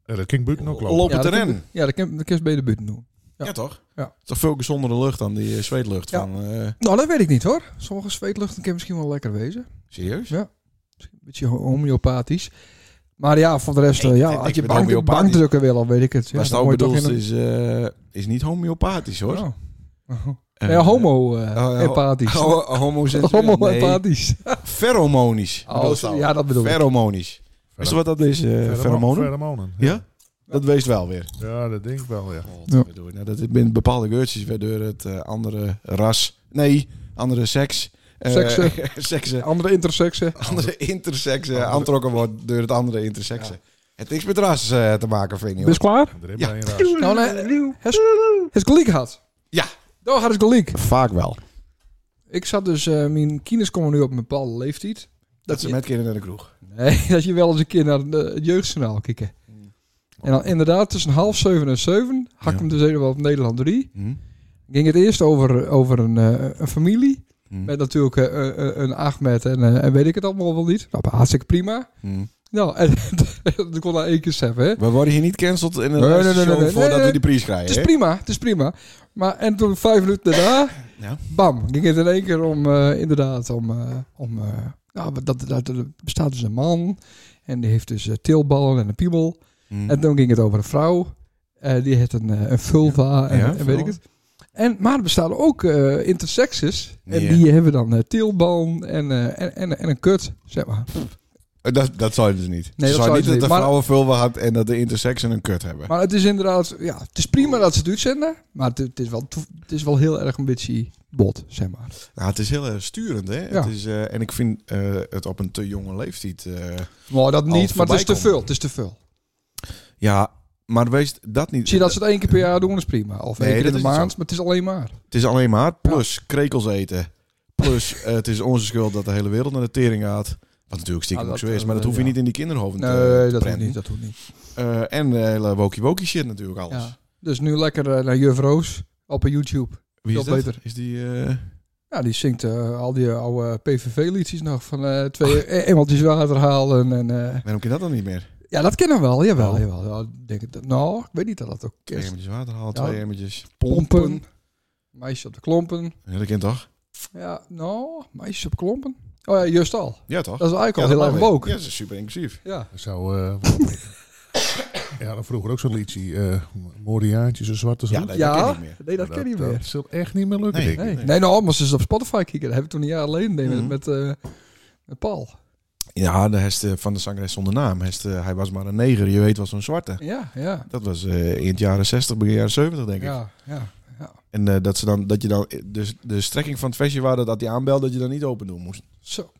Eh, Dat ging buiten ook lopen.
lopen
Ja,
te
dat-
rennen.
Ja, dat kun, dat kun je best bij de buurt doen. Ja.
Ja, toch?
Ja.
Het is toch veel gezondere lucht dan die eh, zweetlucht
Ja.
van... eh,
Nou, dat weet ik niet hoor. Sommige zweetluchten kunnen misschien wel lekker wezen.
serieus?
Misschien Een beetje ho- homeopathisch. Maar ja, voor de rest, eh,
Ik-
ja,
ik-
als
ik
je
ben
bank,
homeopathisch.
bankdrukken wil, dan weet ik het. Ja,
Wat
dan
nou
moet je toch
bedoeld
in
is, eh, is niet homeopathisch hoor.
een- Oh.
Eh,
ja, homo eh,
eh,
hepatisch.
Oh, eh, homoseksueel.
homo
Nee,
hepatisch.
Pheromonisch.
Oh,
Bedoel je dat?
ja, dat bedoel ik.
Pheromonisch. Weet je wat dat is? eh, Pheromonen?
Pheromonen.
Ja? Dat wees wel weer.
Ja, dat denk ik wel, ja.
Ja.
Nou, dat zijn bepaalde geurtjes waardoor het eh, andere ras... Nee, andere seks... eh,
Seksen. Oh.
seksen.
Andere intersexen.
Andere interseksen aantrokken wordt door het andere interseksen. Het heeft niks met ras eh, te maken, vind je.
Ben je klaar?
Er is
Ja.
maar één raas.
Nou, nee. Has, has gelijk gehad.
Ja.
Daar gaat het gelijk.
Vaak wel.
Ik zat dus, eh, mijn kines komen nu op een bepaalde leeftijd.
Dat ze
je-
met kinderen naar de kroeg.
Nee, dat je wel eens een keer naar de- het jeugdjournaal kijken. En dan inderdaad tussen half zeven en zeven hak
Ja.
hem dus helemaal op Nederland 3.
Hm?
Ging het eerst over, over een, eh, een familie.
Hm?
Met natuurlijk eh, eh, een Ahmed en, eh, en weet ik het allemaal wel niet. Nou, hartstikke prima.
Hm.
Nou, en dat kon daar één keer hebben, hè.
We worden hier niet cancelled in een
Nee, nee, nee,
show
nee, nee,
voordat
nee, nee.
we die prijs
Het
krijgen.
is
hè?
prima, het is prima. Maar en toen vijf minuten daarna,
Ja.
bam, ging het in één keer om, eh, inderdaad, om, eh, om eh, nou, dat, dat, dat- er bestaat dus een man en die heeft dus eh, teelballen en een piemel.
Hm.
En toen ging het over een vrouw, eh, die heeft een, eh, een vulva en,
Ja,
en weet ik
vulva.
het. En, maar er bestaan ook eh intersexes en
Ja.
die hebben dan eh teelballen en, eh, en, en, en een kut, zeg maar.
Dat, dat zou je dus niet.
dat
Nee, zou
zou je
niet dat
niet,
de
maar-
vrouwen vulva had en dat de interseksen een kut hebben.
Maar het is inderdaad, ja, het is prima dat ze het uitzenden, maar het, het is wel, toe- het is wel heel erg een beetje bot, zeg maar.
Nou, het is heel erg sturend, hè?
Ja.
Het is, eh, en ik vind eh, het op een te jonge leeftijd... eh,
Nou, dat
al
niet, maar het is te
voorbij
veel.
komen.
Het is te veel.
ja, maar wees dat niet...
Zie je dat ze het één keer per jaar doen, is prima. Of één keer
Nee,
in
dat
de
is niet
maand, maar het is alleen maar.
Het is alleen maar plus krekels eten. Plus eh, het is onze schuld dat de hele wereld naar de tering gaat. Wat natuurlijk stiekem
Ah,
ook
dat,
zo is. Maar dat
eh,
hoef je
ja.
niet in die kinderhoven te,
Nee,
te
dat hoeft
prenten.
niet. Dat hoeft niet.
Eh, en de hele wokie-wokie shit natuurlijk alles.
Ja. Dus nu lekker eh, naar Juf Roos op eh, YouTube.
Wie is
Veel
dat?
beter.
Is die... eh,
Ja, die zingt eh, al die oude PVV-liedjes nog van eh, twee eh, emeltjes water halen. En, eh,
Waarom ken je dat dan niet meer?
ja, dat kennen we wel. Jawel,
Oh.
jawel. Ja, ik denk het, nou, ik weet niet dat dat ook
Twee
is.
emmertjes water halen,
Ja.
twee emmertjes pompen.
Pompen. Meisje op de klompen.
Ja, dat kent toch?
Ja, nou, meisjes op klompen. Oh ja, juist al.
Ja, toch?
Dat is eigenlijk
ja,
al heel erg woke.
Ja, dat is super inclusief.
Ja.
Zo, eh, ja, dan vroeger ook zo'n liedje. eh Moriaantjes en zwarte
Ja,
zon.
nee, dat
Ja.
ken ik niet meer.
Nee, dat ken je weer.
Dat zal echt niet meer lukken,
Nee.
denk ik.
Nee, nee, nou, maar ze is op Spotify kijken. Dat heb ik toen een jaar alleen deed
Mhm.
met, met, eh, met Paul.
Ja, de hest eh, van de zangeres zonder naam. Hest, eh, hij was maar een neger, je weet was zo'n zwarte.
Ja, ja.
Dat was eh, in het jaren 60, begin jaren 70, denk ik.
Ja, ja.
En eh, dat ze dan, dat je dan, dus de strekking van het vestje waren dat hij aanbelde dat je dan niet open doen moest.
Zo.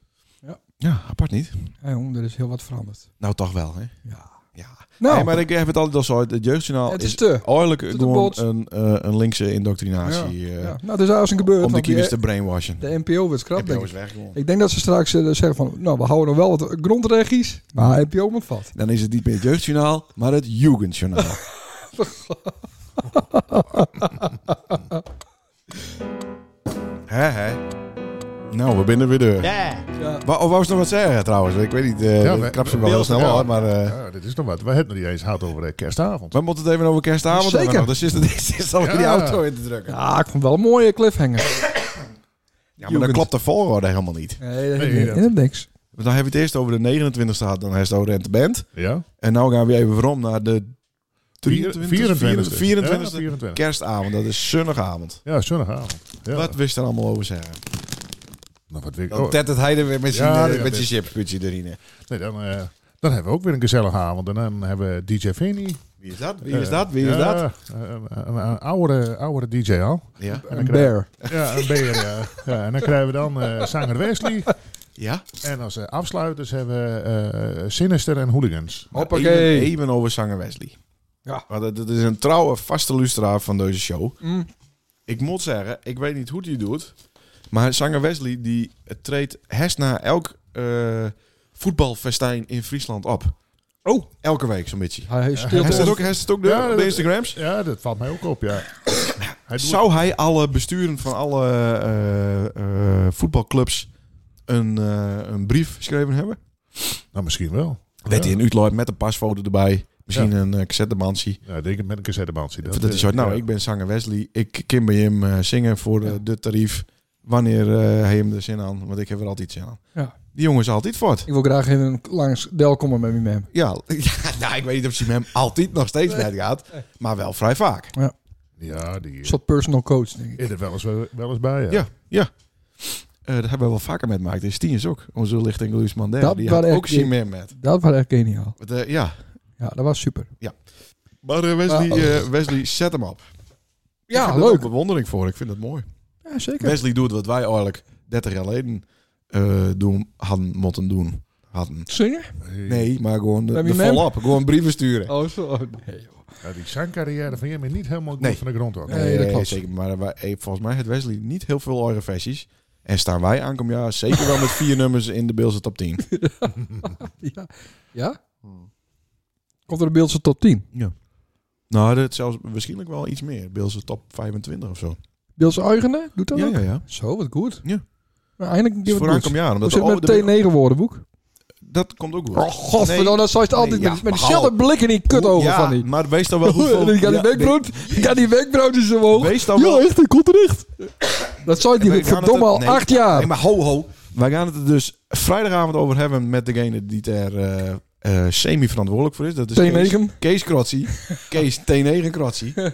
Ja, apart niet.
Hé, jong, er is heel wat veranderd.
Nou, toch wel, hè?
Ja.
Ja.
Nou,
Hey, maar ik heb het altijd al zo uit. Het jeugdjournaal
het
is,
is te.
oorlijk
te
gewoon
bot.
een, eh, een linkse indoctrinatie.
Ja.
eh,
Nou, het is alles een gebeurd.
Om de
want die- eh,
kiwis te brainwashen.
de NPO wordt krap,
NPO
denk
is
ik.
weg, gewoon.
Ik denk dat ze straks eh, zeggen van, nou, we houden nog wel wat grondregies, maar NPO moet vat.
Dan is het niet meer het jeugdjournaal, maar het Jugendjournaal. hè, hè. Nou, we binnen weer deur.
Ja.
Wa- Of wou ze nog wat zeggen trouwens? Ik weet niet, eh
Ja, we-
ik krap ze wel heel
beeld-
snel
ja.
hoor, maar... eh,
Ja, dit is nog wat. We hebben het nog niet eens gehad over eh, kerstavond.
we moeten het even over kerstavond
Zeker.
hebben nog. Dus is het is het alweer
Ja.
die auto in te drukken.
Ja, ik vond wel een mooie cliffhanger.
Ja, maar dan klopt de volgorde helemaal niet.
Nee, dat
Nee,
heeft
dat-
niet- dat niks.
Want dan hebben we het eerst over de 29e gehad, dan heeft het over Rente Band.
Ja?
En nou gaan we even voorom naar de 23,
24.
24e
Ja, 24.
kerstavond. Dat is zonnigavond.
Ja, zondagavond. Ja.
Wat wist je er allemaal over zeggen?
Nou, wat wil ik
Dan
ook.
tettert hij er weer met zijn,
Ja,
eh,
ja,
met
dit-
zijn chipsputje erin.
Nee, dan, eh, dan hebben we ook weer een gezellige avond. En dan hebben we DJ Vinnie.
Wie is dat? Wie is dat? Wie is
Ja,
dat?
eh, een, een, een oude, oude DJ al.
Ja.
En
Een
dan krijgen-
bear.
Ja, een beer. Ja. Ja, en dan krijgen we dan eh zanger Wesley.
Ja?
En als eh, afsluiters hebben we eh, Sinister en Hooligans.
Hoppakee.
Even, even over zanger Wesley.
Ja.
Want dat, dat is een trouwe, vaste luisteraar van deze show.
Mm.
Ik moet zeggen, ik weet niet hoe die doet. Maar zanger Wesley die treedt hers na elk eh, voetbalfestijn in Friesland op.
Oh.
Elke week zo'n beetje.
Hij heeft stil
Hij staat
te-
ook, hij staat ook de,
Ja,
op de
dat-
Instagrams.
Ja, dat valt mij ook op, ja. Hij doet
Zou hij alle besturen van alle eh, eh, voetbalclubs een, eh, een brief geschreven hebben?
Nou, misschien wel.
Werd hij in Utrecht met een pasfoto erbij. Misschien een uh, cassettebandje.
Ja, ik denk ik met een cassettebandje. eh,
Dat, dat is wat, nou, ik ben zanger Wesley. Ik ken bij hem eh, zingen voor eh, de tarief. Wanneer eh, hij hem er zin aan. Want ik heb er altijd zin aan.
Ja.
Die jongen is altijd voort.
Ik wil graag even langs Del komen met mijn mem.
Ja, ja nou, ik weet niet of ze met hem altijd nog steeds net gaat. Maar wel vrij vaak.
Ja, die
Een
is
soort personal coach, denk ik.
er wel eens, wel eens bij. Ja.
Ja, ja. Eh, dat hebben we wel vaker met gemaakt. In Stiens ook. Onze lichting Luis Mandela.
Dat
die had
waren
ook
echt-
zin meer met.
Dat was echt geniaal.
Want, eh, ja.
Ja, dat was super.
Maar eh, Wesley,
Maar-
eh, Wesley, zet hem op. ik
Ah. Ja,
heb er ook
leuk.
bewondering voor. Ik vind het mooi.
Ja, zeker.
Wesley doet wat wij eigenlijk 30 jaar geleden eh, doen, hadden moeten doen. Hadden.
Zingen?
Nee, maar gewoon de,
Bij
de
mijn mem?
volop. Gewoon brieven sturen.
Oh, zo. Nee, joh.
Ja, die zangcarrière van hem is niet helemaal goed
Nee.
van de grond af.
Nee, dat klopt.
Zeker, maar wij- eh, volgens mij heeft Wesley niet heel veel eigen versies. En staan wij aankomend jaar zeker wel met vier nummers in de Beelse top 10.
Ja? ja? Komt er een beeldse top 10?
nou, dat is zelfs waarschijnlijk wel iets meer. Beelse top 25 of zo.
Beeldse eigenen? Doet dat
Ja,
ook?
ja, ja.
Zo, wat goed.
Ja.
Maar eindelijk een
Dus
keer
voor
wat goeds.
aankomend jaar.
Hoe
Omdat
zit het
oh,
met
de-
het T9-woordenboek?
Dat komt ook goed.
Oh, godverdomme,
Nee.
dat zou je het altijd
Nee,
met,
ja,
met
maar
dezelfde blik in die kut over
Ja,
van die.
maar wees dan wel hoeveel...
Ik ga die
ja,
wenkbrauw, ik ga die wenkbrauw die zo omhoog.
Wees dan
ja,
wel-
echt, hij komt terecht. Dat zou
We
die
gaan het
verdomme
er-
al
nee.
acht jaar.
Nee, maar ho, ho. Wij gaan het er dus vrijdagavond over hebben met degene die er eh, eh, semi-verantwoordelijk voor is. Dat is Kees,
T9.
Kees Krotsi. Kees T9 Krotsi. En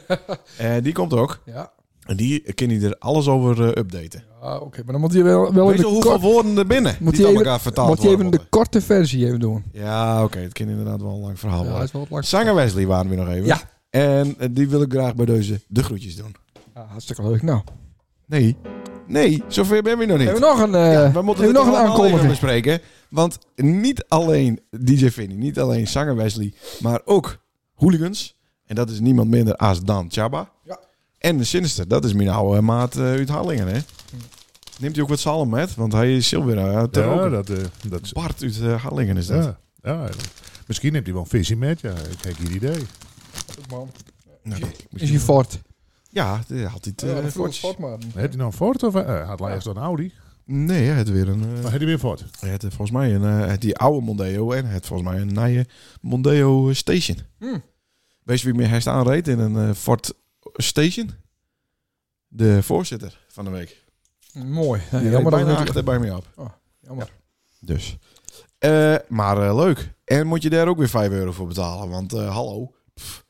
Eh, die komt ook.
Ja,
En die kan hij er alles over eh, updaten.
Ah, oké. Maar dan moet hij wel, wel
Weet
in
je
de
hoeveel
kort-
woorden er binnen
Moet
die
hij
aan
even-
elkaar vertaald
moet hij even
worden?
de korte versie even doen.
Ja, oké. het kan inderdaad wel een lang verhaal
Ja, dat
worden.
is wel wat lang.
Zanger Wesley waren we nog even.
Ja.
En eh, die wil ik graag bij deze de groetjes doen.
Ja, hartstikke leuk. Nou,
Nee. Nee, zover ben we nog niet.
hebben we nog een, eh,
Ja, we
hebben
moeten
we
dit
nog een
allemaal even
aankondiging?
bespreken. Want niet alleen DJ Vinnie, niet alleen zanger Wesley, maar ook hooligans. En dat is niemand minder als Dan Chaba.
Ja.
En de Sinister, dat is mijn oude maat eh, uit Harlingen. Hè? Neemt hij ook wat zalm met? Want hij is zilver uit de
Ja, dat, eh, dat is...
Bart uit eh, Harlingen is dat.
Ja, ja, ja. misschien heeft hij wel een visie met. Ja, ik heb geen idee.
Ja,
Is hij fort?
Nou, ja het is altijd eh, fortjes.
Heeft hij nou een Ford of... eh, had laatst dan een Audi.
Nee, hij had weer een... eh,
Maar heeft hij weer een Ford?
hij had volgens mij een, eh, die oude Mondeo en het volgens mij een nieuwe Mondeo Station.
Hmm.
Weet je wie meer hij aanreed in een eh, Ford Station? De voorzitter van de week.
Mooi. Ja,
Die reed
jammer dat
bijna
we niet-
achter bij mij op.
jammer.
Dus. Eh, maar eh, leuk. En moet je daar ook weer 5 euro voor betalen? Want eh, hallo. Pff.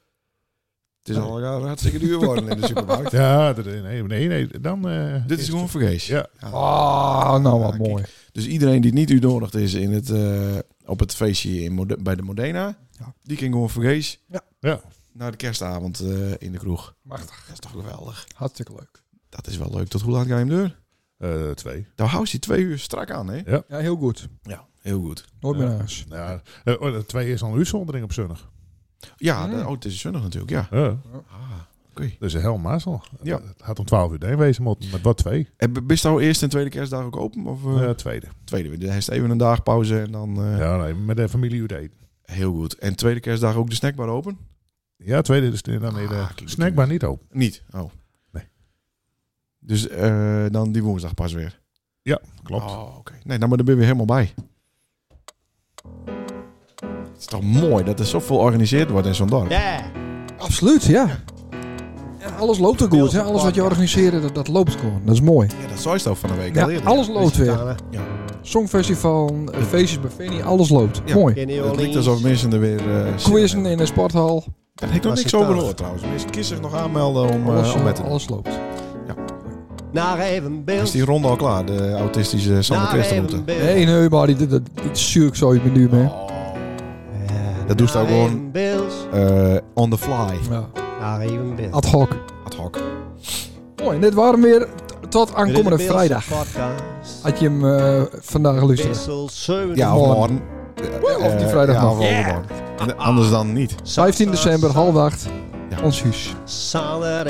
het is al een hartstikke duur worden in de supermarkt.
Ja, dat, nee, nee, nee. Dan... eh,
Dit is gewoon vergees.
Ja.
Ah, nou wat
Ja,
mooi.
Dus iedereen die niet uitnodigd is in het, eh, op het feestje in Mode- bij de Modena,
Ja.
die kan gewoon vergees
Ja.
naar de kerstavond eh, in de kroeg.
Machtig.
Dat is toch geweldig?
Hartstikke leuk.
Dat is wel leuk. Tot hoe laat ga je hem deur?
eh, twee.
Nou hou je twee uur strak aan, hè?
Ja, heel goed.
Ja, heel goed.
Nooit meer naar huis.
Ja, eh, oh, twee is al een uitzondering op zonnig.
Ja, de-
Mm.
oh, het is zonnig natuurlijk, ja.
Ja.
Ah, oké.
Dus een helmazel.
Ja.
Ja. Het had om 12 uur heen wezen, maar met wat twee?
En b- Bist nou eerste en tweede kerstdag ook open? Of eh,
Eh, tweede.
tweede? Dan heeft even een dag pauze en dan... eh,
Ja, nee, met de familie uit eten.
Heel goed. En tweede kerstdag ook de snackbar open?
Ja, tweede is de- dan nee,
Ah,
de
kijk, kijk.
snackbar niet open.
Niet. Oh.
Nee.
Dus eh, dan die woensdag pas weer?
Klopt.
Oh, oké. Nee, nou, maar daar ben je weer helemaal bij. Het is toch mooi dat er zoveel georganiseerd wordt in zo'n dorp.
Yeah,
Absoluut, ja. ja alles loopt ook goed. Hè? Alles wat je organiseert, dat, dat loopt gewoon. Dat is mooi.
Ja, dat zou je toch van de week
Ja,
al eerder.
alles loopt weer.
Tana.
Songfestival, eh, feestjes bij Vinnie, alles loopt.
Ja.
Mooi.
Kenny
Het klinkt
Orleans.
alsof mensen er weer... eh,
Quizzen
zin hebben.
in de
Oh,
sporthal,
Daar heb ik nog
Was
niks
het
over
dan?
gehoord trouwens. Mensen kiezen zich nog aanmelden om, eh,
alles,
om met te doen.
alles loopt.
Naar even
Is
beeld.
die ronde al klaar, de autistische
Naar
Sander
even
Christenroute?
beeld.
Nee, nee, maar dit, dit, dit, dit zuur ik zo in mijn duim, hè.
Oh. Dat doe je ook gewoon
Beeld.
eh, on the fly.
Ja.
Naar even beeld.
Ad hoc.
Ad hoc.
Mooi, en dit waren weer tot aankomende
Dit is de
vrijdag.
Beeldse Podcast.
Had je hem eh, vandaag geluisterd?
Wissel 7.
Ja, of
Morgen.
morgen.
Woe, of die
Eh,
vrijdag
ja,
nog.
of overmorgen. En Anders dan niet.
15 december, half acht,
Ja.
ons huis.
Sander